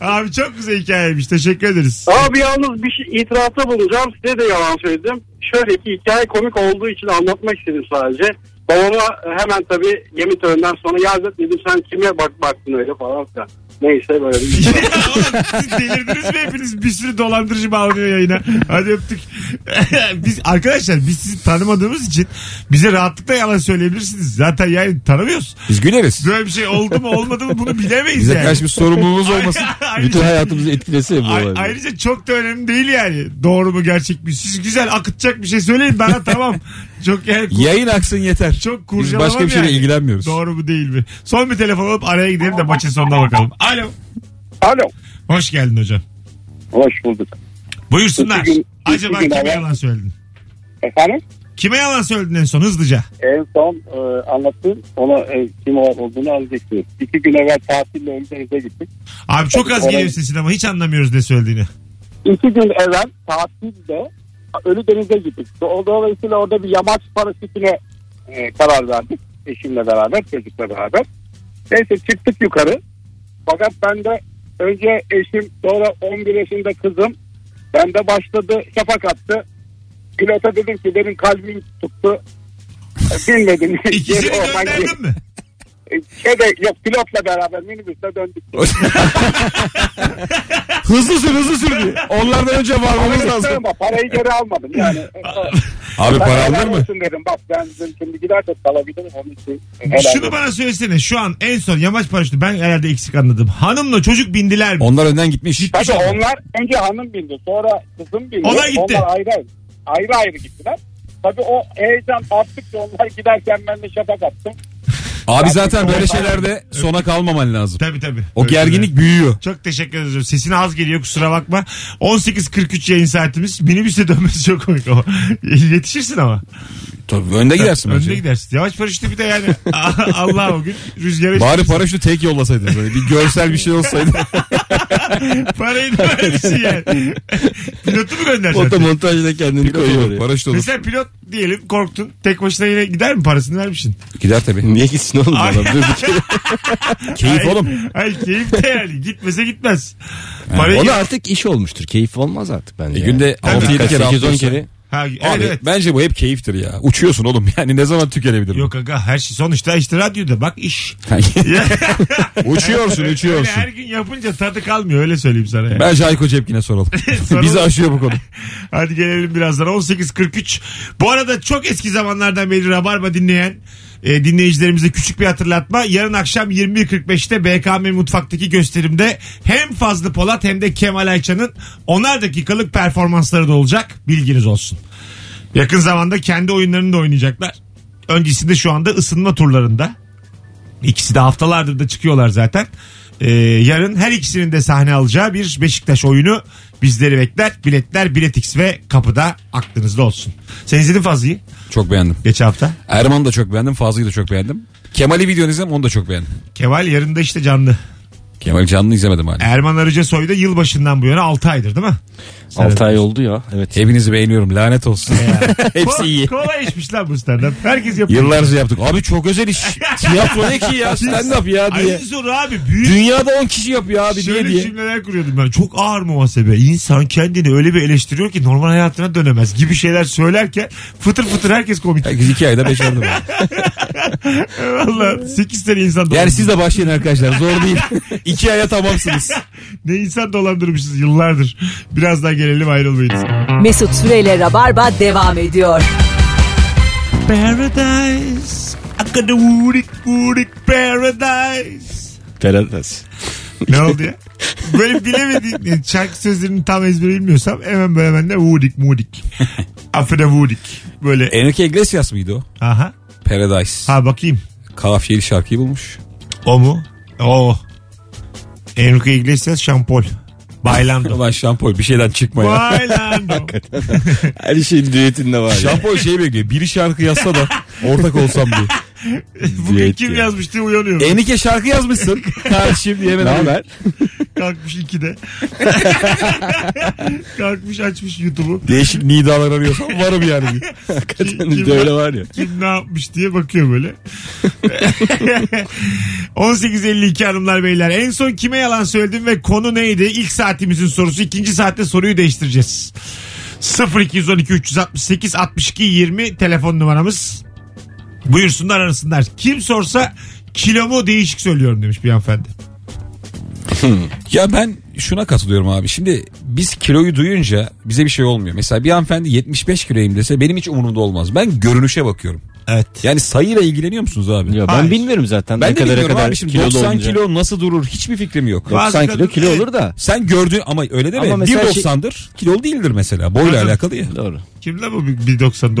Speaker 2: Abi çok güzel hikayeymiş. Teşekkür ederiz.
Speaker 8: Abi yalnız bir şey, itirafta bulunacağım size de yalan söyledim. Şöyle ki hikaye komik olduğu için anlatmak istedim sadece. Babama hemen tabii gemi töreninden sonra yaz dedim sen kime bak baktın öyle falan filan. Neyse böyle
Speaker 2: [laughs]
Speaker 8: bir
Speaker 2: Ya oğlum, siz delirdiniz mi hepiniz? Bir sürü dolandırıcı bağlanıyor yayına. Hadi öptük. [laughs] biz arkadaşlar biz sizi tanımadığımız için bize rahatlıkla yalan söyleyebilirsiniz. Zaten yani tanımıyoruz.
Speaker 3: Biz güleriz.
Speaker 2: Böyle bir şey oldu mu olmadı mı bunu bilemeyiz
Speaker 3: Bize
Speaker 2: yani.
Speaker 3: karşı bir sorumluluğumuz olmasın.
Speaker 2: Ayrıca-
Speaker 4: Bütün hayatımızı etkilese ya bu
Speaker 2: Ay-
Speaker 4: olay.
Speaker 2: ayrıca çok da önemli değil yani. Doğru mu gerçek mi? Siz güzel akıtacak bir şey söyleyin bana [laughs] tamam. Çok yani
Speaker 3: Yayın aksın yeter.
Speaker 2: çok
Speaker 3: Biz
Speaker 2: kurcalamam
Speaker 3: başka bir şeyle
Speaker 2: yani.
Speaker 3: ilgilenmiyoruz.
Speaker 2: Doğru mu değil mi? Son bir telefon alıp araya gidelim de maçın sonuna bakalım. Alo.
Speaker 8: Alo.
Speaker 2: Hoş geldin hocam.
Speaker 8: Hoş bulduk.
Speaker 2: Buyursunlar.
Speaker 8: İki gün- iki
Speaker 2: Acaba
Speaker 8: gün
Speaker 2: kime
Speaker 8: evvel-
Speaker 2: yalan söyledin?
Speaker 8: Efendim?
Speaker 2: Kime yalan söyledin en son hızlıca?
Speaker 8: En son e, anlattım. Ona e, kim olduğunu anlayacaktım. İki gün evvel tatille Ölüdeniz'e gittik.
Speaker 2: Abi çok az
Speaker 8: Tabii,
Speaker 2: geliyor
Speaker 8: evet.
Speaker 2: sesin ama hiç anlamıyoruz ne söylediğini.
Speaker 8: İki gün evvel tatilde Ölüdeniz'e gittik. Do- Dolayısıyla orada bir yamaç paraşütüne e, karar verdik. Eşimle beraber, çocukla beraber. Neyse çıktık yukarı. Fakat ben de önce eşim sonra 11 yaşında kızım. Ben de başladı şafak attı. Pilota dedim ki benim kalbim tuttu. E, Bilmedim.
Speaker 2: İkisini
Speaker 8: Geri oradan
Speaker 2: gönderdin mi?
Speaker 8: geri- Şeyde, E, şey yok pilotla beraber minibüste döndük.
Speaker 3: [laughs] hızlı sür hızlı sür diyor. Onlardan önce varmamız lazım.
Speaker 8: Ama parayı geri almadım yani.
Speaker 3: Abi
Speaker 8: Ben
Speaker 3: para
Speaker 8: helal
Speaker 3: alınır mı?
Speaker 8: olsun Dedim. Bak ben dedim şimdi giderse kalabilirim onun için. helal
Speaker 2: Şunu
Speaker 8: olsun.
Speaker 2: bana söylesene şu an en son yamaç paraşütü ben herhalde eksik anladım. Hanımla çocuk bindiler mi?
Speaker 3: Onlar önden gitmiş.
Speaker 8: Tabii onlar önce hanım bindi sonra kızım bindi.
Speaker 2: Onlar gitti.
Speaker 8: Onlar ayrı ayrı, ayrı, ayrı gittiler. Tabii o heyecan arttıkça onlar giderken ben de şafak attım.
Speaker 3: Abi zaten böyle şeylerde sona kalmaman lazım.
Speaker 2: Tabii tabii.
Speaker 3: O
Speaker 2: Öyle
Speaker 3: gerginlik
Speaker 2: söyle.
Speaker 3: büyüyor.
Speaker 2: Çok teşekkür ederim. Sesin az geliyor kusura bakma. 18.43 yayın saatimiz. Minibüse dönmesi çok komik ama. [laughs] Yetişirsin ama.
Speaker 3: Tabii önde gidersin
Speaker 2: Önde
Speaker 3: bence.
Speaker 2: gidersin. Yavaş paraşütü bir de yani. [laughs] Allah o gün rüzgara
Speaker 3: Bari paraşütü tek yollasaydınız. Böyle bir görsel bir şey [laughs] olsaydı.
Speaker 2: parayı da verirsin
Speaker 3: [laughs]
Speaker 2: yani. Pilotu mu göndereceksin?
Speaker 4: Otomontajda kendini koyuyor oraya.
Speaker 3: Paraşüt olur.
Speaker 2: Mesela pilot diyelim korktun. Tek başına yine gider mi parasını vermişsin?
Speaker 3: Gider tabii.
Speaker 4: Niye gitsin oğlum
Speaker 2: Ay. [laughs]
Speaker 4: adam? Durduk yere.
Speaker 3: Keyif
Speaker 2: Ay-
Speaker 3: oğlum.
Speaker 2: Ay keyif de yani. Gitmese gitmez.
Speaker 4: Ona
Speaker 2: Parayı
Speaker 4: artık iş olmuştur. Keyif olmaz artık bence.
Speaker 3: E günde
Speaker 4: yani.
Speaker 3: 6-7
Speaker 4: Hakikaten
Speaker 3: kere
Speaker 4: 8-10
Speaker 3: atlıyorsun.
Speaker 4: kere.
Speaker 2: Ha,
Speaker 3: Abi
Speaker 2: evet, evet.
Speaker 3: bence bu hep keyiftir ya. Uçuyorsun oğlum [laughs] yani ne zaman tükenebilir? bu?
Speaker 2: Yok aga her şey sonuçta işte radyoda bak iş. [laughs]
Speaker 3: uçuyorsun
Speaker 2: Öyle
Speaker 3: uçuyorsun.
Speaker 2: her gün yapınca tadı kalmıyor öyle söyleyeyim sana. Yani.
Speaker 3: Bence Ayko
Speaker 2: [laughs]
Speaker 3: Cepkin'e soralım. [laughs]
Speaker 2: Soralım.
Speaker 3: Bizi aşıyor bu konu.
Speaker 2: Hadi gelelim birazdan 18.43. Bu arada çok eski zamanlardan beri Rabarba dinleyen e, dinleyicilerimize küçük bir hatırlatma. Yarın akşam 21.45'te BKM Mutfak'taki gösterimde hem Fazlı Polat hem de Kemal Ayça'nın onar dakikalık performansları da olacak. Bilginiz olsun. Yakın zamanda kendi oyunlarını da oynayacaklar. Öncesinde şu anda ısınma turlarında. İkisi de haftalardır da çıkıyorlar zaten. Ee, yarın her ikisinin de sahne alacağı bir Beşiktaş oyunu bizleri bekler. Biletler Biletix ve kapıda aklınızda olsun. Sen izledin Fazlı'yı
Speaker 3: Çok beğendim.
Speaker 2: geçen hafta.
Speaker 3: Erman'ı da çok beğendim. Fazlı'yı da çok beğendim. Kemal'i videonu izledim onu da çok beğendim.
Speaker 2: Kemal yarın da işte canlı.
Speaker 3: Kemal canlı izlemedim hala.
Speaker 2: Erman Arıca Soy'da yılbaşından bu yana 6 aydır değil mi?
Speaker 4: 6 ay oldu ya. Evet.
Speaker 3: Hepinizi beğeniyorum
Speaker 2: [laughs]
Speaker 3: lanet olsun. Hepsi iyi.
Speaker 2: Ko- kolay işmiş lan bu stand Herkes yapıyor. [laughs]
Speaker 3: Yıllarca yaptık. Abi çok özel iş. Tiyatro ne ki ya stand up ya
Speaker 2: Ay
Speaker 3: diye.
Speaker 2: zor abi büyük.
Speaker 3: Dünyada 10 kişi yapıyor abi diye
Speaker 2: Şöyle
Speaker 3: diye.
Speaker 2: cümleler kuruyordum ben. Çok ağır muhasebe. İnsan kendini öyle bir eleştiriyor ki normal hayatına dönemez gibi şeyler söylerken fıtır fıtır herkes komik.
Speaker 3: Herkes 2 ayda
Speaker 2: [laughs]
Speaker 3: becerdi. bunu.
Speaker 2: Valla 8 sene insan
Speaker 3: Yani
Speaker 2: dolandırmışız.
Speaker 3: siz de başlayın arkadaşlar
Speaker 2: [laughs]
Speaker 3: zor değil. 2 aya tamamsınız.
Speaker 2: Ne insan dolandırmışız yıllardır. Biraz daha gelelim ayrılmayız.
Speaker 1: Mesut Süreyle Rabarba devam ediyor.
Speaker 2: Paradise. I got a woody, woody paradise.
Speaker 4: Ferhat.
Speaker 2: Ne oldu ya? Böyle bilemediğim yani şarkı sözlerini tam ezbere bilmiyorsam hemen böyle bende vudik
Speaker 3: [laughs]
Speaker 2: mudik. Afede vudik. Böyle.
Speaker 3: Enrique Iglesias mıydı o?
Speaker 2: Aha.
Speaker 3: Paradise.
Speaker 2: Ha bakayım.
Speaker 3: Kafiyeli şarkıyı bulmuş.
Speaker 2: O mu? O. Enrique Iglesias şampol. Bailando.
Speaker 3: Ulan şampoy bir şeyden çıkma
Speaker 2: [laughs]
Speaker 3: ya.
Speaker 2: Bailando.
Speaker 4: Her şeyin düetinde
Speaker 2: [laughs]
Speaker 4: var ya.
Speaker 3: Şampoy şey bekliyor. Biri şarkı yazsa da ortak olsam
Speaker 2: [laughs]
Speaker 3: diye.
Speaker 2: Bugün
Speaker 4: Diyet
Speaker 2: kim
Speaker 4: ya.
Speaker 2: yazmış diye uyanıyorum.
Speaker 3: Enike şarkı yazmışsın. Kardeşim diye hemen.
Speaker 4: Ne haber?
Speaker 2: Kalkmış 2'de. [laughs] Kalkmış açmış YouTube'u.
Speaker 3: Değişik nidalar arıyorsam varım
Speaker 2: [laughs]
Speaker 3: yani. diye.
Speaker 4: Hakikaten bir de öyle var ya.
Speaker 2: Kim ne yapmış diye bakıyor böyle. [laughs] 18.52 hanımlar beyler. En son kime yalan söyledim ve konu neydi? İlk saatimizin sorusu. ikinci saatte soruyu değiştireceğiz. 0212 368 62 20 telefon numaramız. Buyursunlar arasınlar. Kim sorsa kilomu değişik söylüyorum demiş bir hanımefendi.
Speaker 3: Ya ben şuna katılıyorum abi. Şimdi biz kiloyu duyunca bize bir şey olmuyor. Mesela bir hanımefendi 75 kiloyum dese benim hiç umurumda olmaz. Ben görünüşe bakıyorum.
Speaker 2: Evet.
Speaker 3: Yani sayıyla ilgileniyor musunuz abi?
Speaker 4: Ya ben
Speaker 2: Hayır.
Speaker 4: bilmiyorum zaten.
Speaker 3: ben de
Speaker 4: ne kadara
Speaker 3: bilmiyorum
Speaker 4: kadar
Speaker 3: abi şimdi
Speaker 4: kilolu
Speaker 3: 90
Speaker 4: olunca.
Speaker 3: kilo nasıl durur hiçbir fikrim yok.
Speaker 4: 90
Speaker 2: Bazı
Speaker 4: kilo
Speaker 2: kadın-
Speaker 4: kilo olur da.
Speaker 3: Sen gördüğün ama öyle deme.
Speaker 4: Ama mesela şey-
Speaker 3: 1.90'dır kilolu değildir mesela. Boyla
Speaker 2: Kadın-
Speaker 3: alakalı ya.
Speaker 4: Doğru.
Speaker 2: Kim la bu 1.90'da?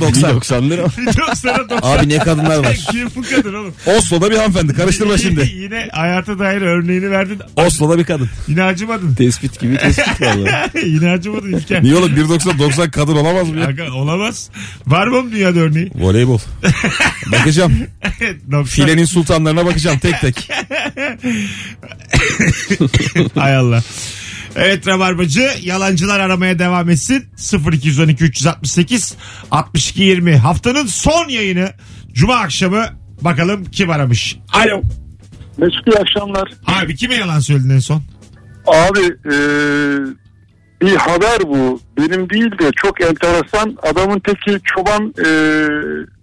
Speaker 2: [laughs]
Speaker 3: 90.
Speaker 4: 90 lira.
Speaker 2: 1.90'a 90.
Speaker 3: Abi ne kadınlar var.
Speaker 2: [laughs] Kim bu kadın oğlum?
Speaker 3: [laughs] Oslo'da bir
Speaker 2: [laughs]
Speaker 3: hanımefendi karıştırma şimdi.
Speaker 2: Yine hayata dair örneğini verdin.
Speaker 3: Oslo'da bir kadın.
Speaker 2: Yine acımadın. [laughs]
Speaker 4: Tespit gibi tespit vallahi.
Speaker 2: Yine acımadın İlker.
Speaker 3: Niye oğlum 1.90 90 kadın olamaz mı ya?
Speaker 2: Aga, olamaz. Var mı oğlum dünyada örneği? [laughs]
Speaker 3: Voleybol. Bakacağım.
Speaker 2: 90.
Speaker 3: Filenin sultanlarına bakacağım tek tek.
Speaker 2: Hay Allah. Evet Rabarbacı yalancılar aramaya devam etsin. 0212 368 62 20 haftanın son yayını Cuma akşamı bakalım kim aramış. Alo.
Speaker 8: Mesut iyi akşamlar.
Speaker 2: Abi kime yalan söyledin en son?
Speaker 8: Abi e, bir haber bu. Benim değil de çok enteresan. Adamın teki çoban e,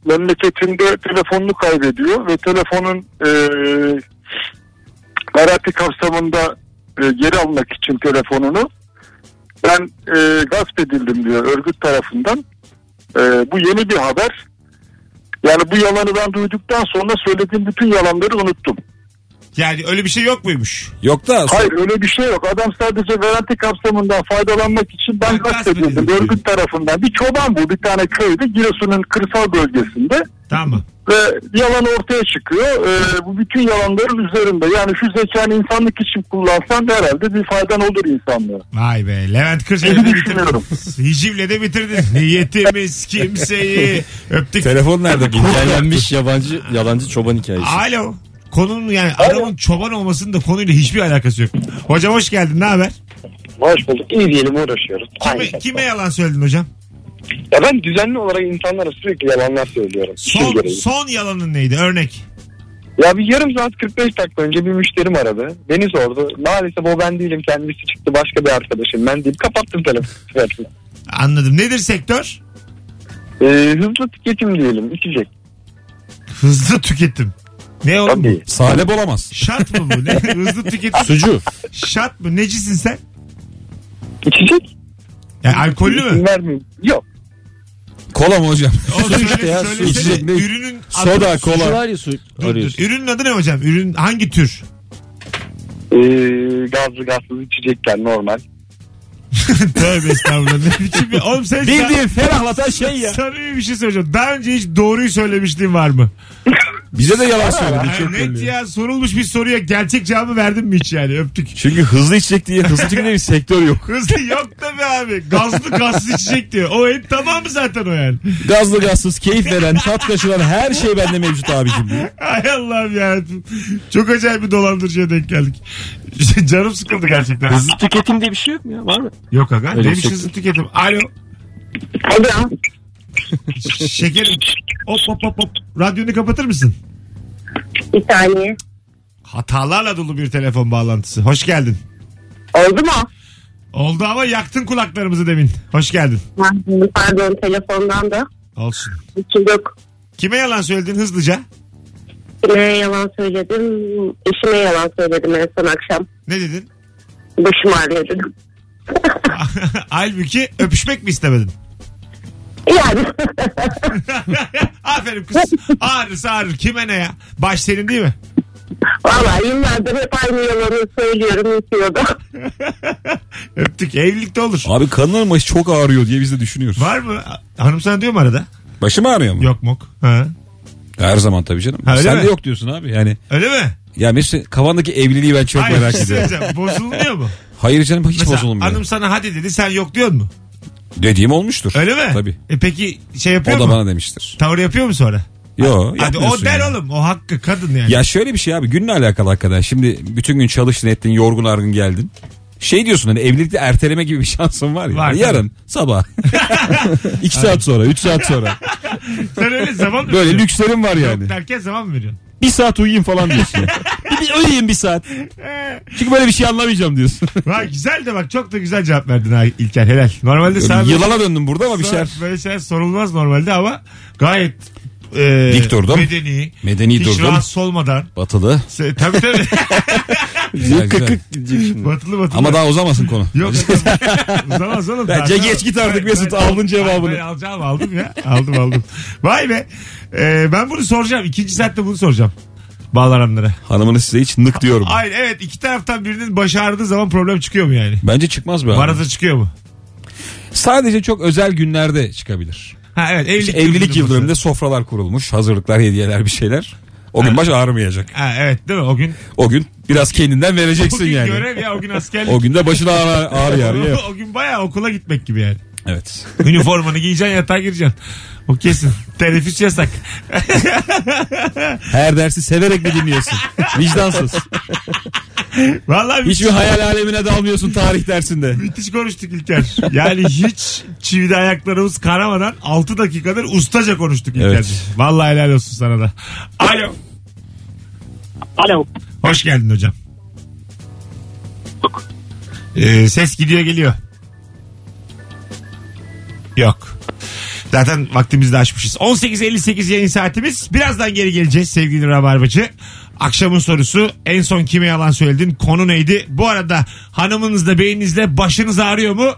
Speaker 8: memleketinde telefonunu kaybediyor ve telefonun e, garanti kapsamında e, geri almak için telefonunu ben e, gasp edildim diyor örgüt tarafından. E, bu yeni bir haber. Yani bu yalanı ben duyduktan sonra söylediğim bütün yalanları unuttum.
Speaker 2: Yani öyle bir şey yok muymuş?
Speaker 3: Yok da
Speaker 8: Hayır öyle bir şey yok. Adam sadece garanti kapsamından faydalanmak için ben
Speaker 2: Ben gasp
Speaker 8: gasp
Speaker 2: edildim
Speaker 8: edildim
Speaker 2: diyor.
Speaker 8: örgüt tarafından. Bir çoban bu bir tane köyde Giresun'un kırsal bölgesinde.
Speaker 2: Tamam mı?
Speaker 8: ve yalan ortaya çıkıyor. Ee, bu bütün yalanların üzerinde. Yani şu zekanı insanlık için kullansan herhalde bir faydan olur insanlığa.
Speaker 2: Vay be Levent Kırca'yı
Speaker 8: Bunu
Speaker 2: da bitirdin.
Speaker 8: düşünüyorum.
Speaker 2: Hicivle de bitirdin. Niyetimiz kimseyi öptük.
Speaker 3: telefon
Speaker 4: [laughs]
Speaker 3: nerede bu?
Speaker 4: Hikayelenmiş yabancı, yalancı çoban hikayesi.
Speaker 2: Alo. Konunun yani adamın çoban olmasının da konuyla hiçbir alakası yok. Hocam hoş geldin ne haber?
Speaker 7: Hoş bulduk. İyi diyelim uğraşıyoruz.
Speaker 2: Kime, kime yalan söyledin hocam?
Speaker 7: Ya ben düzenli olarak insanlara sürekli yalanlar söylüyorum. İşim
Speaker 2: Son,
Speaker 7: gereği.
Speaker 2: son yalanın neydi? Örnek.
Speaker 7: Ya bir yarım saat 45 dakika önce bir müşterim aradı. Beni sordu. Maalesef o ben değilim kendisi çıktı başka bir arkadaşım ben deyip kapattım telefonu.
Speaker 2: Anladım. Nedir sektör?
Speaker 7: Ee, hızlı tüketim diyelim içecek.
Speaker 2: Hızlı tüketim. Ne oğlum? bu?
Speaker 7: Tabii.
Speaker 3: Salep olamaz.
Speaker 2: Şart mı bu? Ne? Hızlı tüketim.
Speaker 4: Sucu.
Speaker 2: Şart mı? Necisin sen?
Speaker 7: İçecek?
Speaker 2: Yani alkollü mü?
Speaker 7: Vermiyor. Yok.
Speaker 3: Kola mı hocam?
Speaker 2: O
Speaker 4: Su işte ya, su.
Speaker 2: söylesene.
Speaker 3: İçecek ne?
Speaker 2: Ürünün adı.
Speaker 3: [laughs] Soda,
Speaker 4: Sucu
Speaker 3: kola.
Speaker 4: var ya su
Speaker 2: Dur, dur.
Speaker 4: arıyorsun.
Speaker 2: Ürünün adı ne hocam? Ürün hangi tür? [laughs]
Speaker 7: Ee, gazlı gazsız içecekler normal.
Speaker 2: Tövbe estağfurullah. Ne biçim bir... Oğlum sen sen...
Speaker 3: Bildiğin ferahlatan şey ya.
Speaker 2: Samimi bir şey söyleyeceğim. Daha önce hiç doğruyu söylemişliğin var mı?
Speaker 3: Bize de yalan söyledi.
Speaker 2: Yani
Speaker 3: çok
Speaker 2: net
Speaker 3: belli.
Speaker 2: ya sorulmuş bir soruya gerçek cevabı verdin mi hiç yani öptük.
Speaker 3: Çünkü hızlı içecek diye hızlı içecek diye bir sektör yok.
Speaker 2: Hızlı [laughs] yok tabii abi. Gazlı gazsız içecek diyor. O en tamamı zaten o yani.
Speaker 3: [laughs]
Speaker 2: [laughs]
Speaker 3: Gazlı gazsız, keyif veren, tat kaşıran her şey bende mevcut abicim diye.
Speaker 2: Ay Allah'ım ya. Çok acayip bir dolandırıcıya denk geldik. [laughs] Canım sıkıldı gerçekten.
Speaker 4: Hızlı tüketim diye bir şey yok mu ya? Var mı?
Speaker 2: Yok aga.
Speaker 4: Öyle
Speaker 2: Demiş
Speaker 4: çok-
Speaker 2: hızlı tüketim. Alo.
Speaker 8: Alo.
Speaker 2: Ş- Şekerim. Hop hop hop hop. Radyonu kapatır mısın?
Speaker 6: Bir saniye.
Speaker 2: Hatalarla dolu bir telefon bağlantısı. Hoş geldin.
Speaker 6: Oldu mu?
Speaker 2: Oldu ama yaktın kulaklarımızı demin. Hoş geldin.
Speaker 6: Ha, Pardon telefondan da.
Speaker 2: Olsun.
Speaker 6: İçim yok.
Speaker 2: Kime yalan söyledin hızlıca?
Speaker 6: Kime yalan söyledim? Eşime yalan söyledim en son akşam.
Speaker 2: Ne dedin?
Speaker 6: Başım ağrıyor dedim.
Speaker 2: [laughs] Halbuki öpüşmek mi istemedin? [laughs]
Speaker 6: Yani [laughs]
Speaker 2: Aferin kız. Ağrırsa ağrır. Kime ne ya? Baş senin değil mi? [laughs]
Speaker 6: valla yıllardır hep aynı yalanı söylüyorum yetiyor da.
Speaker 2: Öptük. Evlilikte olur.
Speaker 3: Abi kadınların başı çok ağrıyor diye biz de düşünüyoruz.
Speaker 2: Var mı? Hanım sana diyor mu arada?
Speaker 3: Başım ağrıyor mu?
Speaker 2: Yok mok. Ha.
Speaker 3: Her zaman tabii canım.
Speaker 2: Ha, öyle
Speaker 3: Sen
Speaker 2: mi?
Speaker 3: de yok diyorsun abi. Yani
Speaker 2: Öyle mi?
Speaker 3: ya Mesut kafandaki evliliği ben çok
Speaker 2: Hayır,
Speaker 3: merak
Speaker 2: bir şey
Speaker 3: ediyorum.
Speaker 2: söyleyeceğim. Bozulmuyor mu?
Speaker 3: Hayır canım hiç
Speaker 2: Mesela
Speaker 3: bozulmuyor.
Speaker 2: hanım sana hadi dedi sen yok diyor mu?
Speaker 3: Dediğim olmuştur.
Speaker 2: Öyle mi?
Speaker 3: Tabii.
Speaker 2: E peki şey
Speaker 3: O
Speaker 2: yapıyor
Speaker 3: da
Speaker 2: mu?
Speaker 3: bana demiştir.
Speaker 2: Tavır yapıyor mu sonra?
Speaker 3: Yo
Speaker 2: Hadi
Speaker 3: yapmıyorsun
Speaker 2: o der
Speaker 3: yani.
Speaker 2: oğlum. O hakkı kadın yani.
Speaker 3: Ya şöyle bir şey abi günle alakalı hakikaten. Şimdi bütün gün çalıştın ettin yorgun argın geldin. Şey diyorsun hani evlilikte erteleme gibi bir [laughs] şansın var ya.
Speaker 2: Var,
Speaker 3: Yarın
Speaker 2: [laughs]
Speaker 3: sabah. 2 saat sonra 3 saat sonra.
Speaker 2: Sen öyle zaman mı
Speaker 3: Böyle
Speaker 2: veriyorsun?
Speaker 3: lükslerim var yani.
Speaker 2: Yok derken zaman mı veriyorsun?
Speaker 3: Bir saat uyuyayım falan diyorsun.
Speaker 2: [laughs]
Speaker 3: bir, bir uyuyayım bir saat. Çünkü böyle bir şey anlamayacağım diyorsun.
Speaker 2: Vay güzel de bak çok da güzel cevap verdin ha İlker helal. Normalde sana böyle-
Speaker 3: Yılana döndüm burada ama bir
Speaker 2: sana
Speaker 3: şeyler.
Speaker 2: böyle şeyler sorulmaz normalde ama gayet e,
Speaker 3: Dik durdum.
Speaker 2: medeni,
Speaker 3: Medeni
Speaker 2: hiç
Speaker 3: durdum.
Speaker 2: rahatsız olmadan.
Speaker 3: Batılı.
Speaker 2: Se- Tabii
Speaker 3: [laughs]
Speaker 2: tabii.
Speaker 3: Güzel, güzel.
Speaker 4: Kıkık gidecek şimdi.
Speaker 2: batılı batılı.
Speaker 3: Ama daha uzamasın konu.
Speaker 2: Yok uzamaz oğlum.
Speaker 3: Bence
Speaker 2: Zaten-
Speaker 3: geç git artık
Speaker 2: Ben-
Speaker 3: Mesut,
Speaker 2: ben-
Speaker 3: aldın cevabını.
Speaker 2: Ben alacağım aldım ya. Aldım aldım. Vay be. Ee, ben bunu soracağım. İkinci saatte bunu soracağım. Bağlananlara.
Speaker 3: Hanımını size hiç nık diyorum.
Speaker 2: Hayır evet iki taraftan birinin başı ağrıdığı zaman problem çıkıyor mu yani?
Speaker 3: Bence çıkmaz be abi.
Speaker 2: Baraza çıkıyor mu?
Speaker 3: Sadece çok özel günlerde çıkabilir.
Speaker 2: Ha evet evlilik,
Speaker 3: İşte evlilik
Speaker 2: yıl
Speaker 3: yıl
Speaker 2: dönümü.
Speaker 3: dönümünde sofralar kurulmuş, hazırlıklar, hediyeler bir şeyler. O gün baş ağrımayacak.
Speaker 2: Ha evet değil mi o gün?
Speaker 3: O gün biraz kendinden
Speaker 2: O
Speaker 3: vereceksin
Speaker 2: gün
Speaker 3: yani.
Speaker 2: görev ya o gün askerlik.
Speaker 3: O günde başına ağrı ağrı
Speaker 2: [laughs]
Speaker 3: ağrı. yap.
Speaker 2: o gün bayağı okula gitmek gibi yani.
Speaker 3: Evet.
Speaker 2: Üniformanı giyeceksin yatağa gireceksin. O kesin. Teneffüs yasak.
Speaker 3: Her dersi severek mi dinliyorsun? Vicdansız.
Speaker 2: Vallahi müthiş, [laughs]
Speaker 3: Hiçbir hayal alemine dalmıyorsun tarih dersinde.
Speaker 2: müthiş konuştuk İlker. Yani hiç çivide ayaklarımız karamadan 6 dakikadır ustaca konuştuk İlker.
Speaker 3: Evet.
Speaker 2: Vallahi helal olsun sana da. Alo.
Speaker 5: Alo.
Speaker 2: Hoş geldin hocam. Ee, ses gidiyor geliyor. Yok. Zaten vaktimizi de aşmışız. 18.58 yayın saatimiz. Birazdan geri geleceğiz sevgili Rabarbacı. Akşamın sorusu en son kime yalan söyledin? Konu neydi? Bu arada hanımınızla beyninizle başınız ağrıyor mu?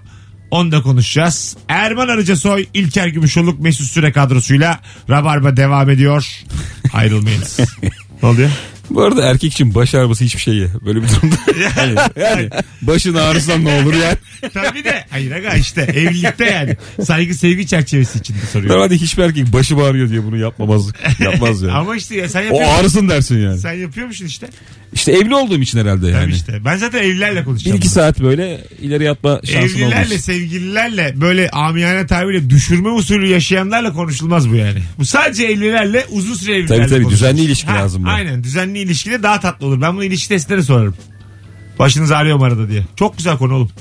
Speaker 2: Onu da konuşacağız. Erman Arıca Soy, İlker Gümüşoluk, Mesut Süre kadrosuyla Rabarba devam ediyor. Ayrılmayınız. ne oluyor?
Speaker 3: Bu arada erkek için baş ağrıması hiçbir şey ya. Böyle bir durumda.
Speaker 2: [laughs]
Speaker 3: yani, yani başın ağrısan ne olur ya.
Speaker 2: Tabii de. Hayır aga işte evlilikte yani. Saygı sevgi çerçevesi içinde soruyor.
Speaker 3: Normalde hiçbir erkek başım ağrıyor diye bunu yapmamaz. Yapmaz yani.
Speaker 2: Ama işte ya sen
Speaker 3: o
Speaker 2: yapıyorsun.
Speaker 3: ağrısın dersin yani.
Speaker 2: Sen yapıyormuşsun işte.
Speaker 3: İşte evli olduğum için herhalde yani.
Speaker 2: Tabii işte. Ben zaten evlilerle
Speaker 3: Bir
Speaker 2: konuşacağım.
Speaker 3: iki saat böyle ileri yatma şansın
Speaker 2: Evlilerle,
Speaker 3: olmuş.
Speaker 2: sevgililerle böyle amiyane tabirle düşürme usulü yaşayanlarla konuşulmaz bu yani. Bu sadece evlilerle uzun süre evlilerle
Speaker 3: Tabii, tabii.
Speaker 2: konuşulur.
Speaker 3: Düzenli ilişki lazım bu.
Speaker 2: Aynen düzenli ilişkide daha tatlı olur. Ben bunu ilişki testleri sorarım. Başınız ağrıyor mu arada diye. Çok güzel konu oğlum.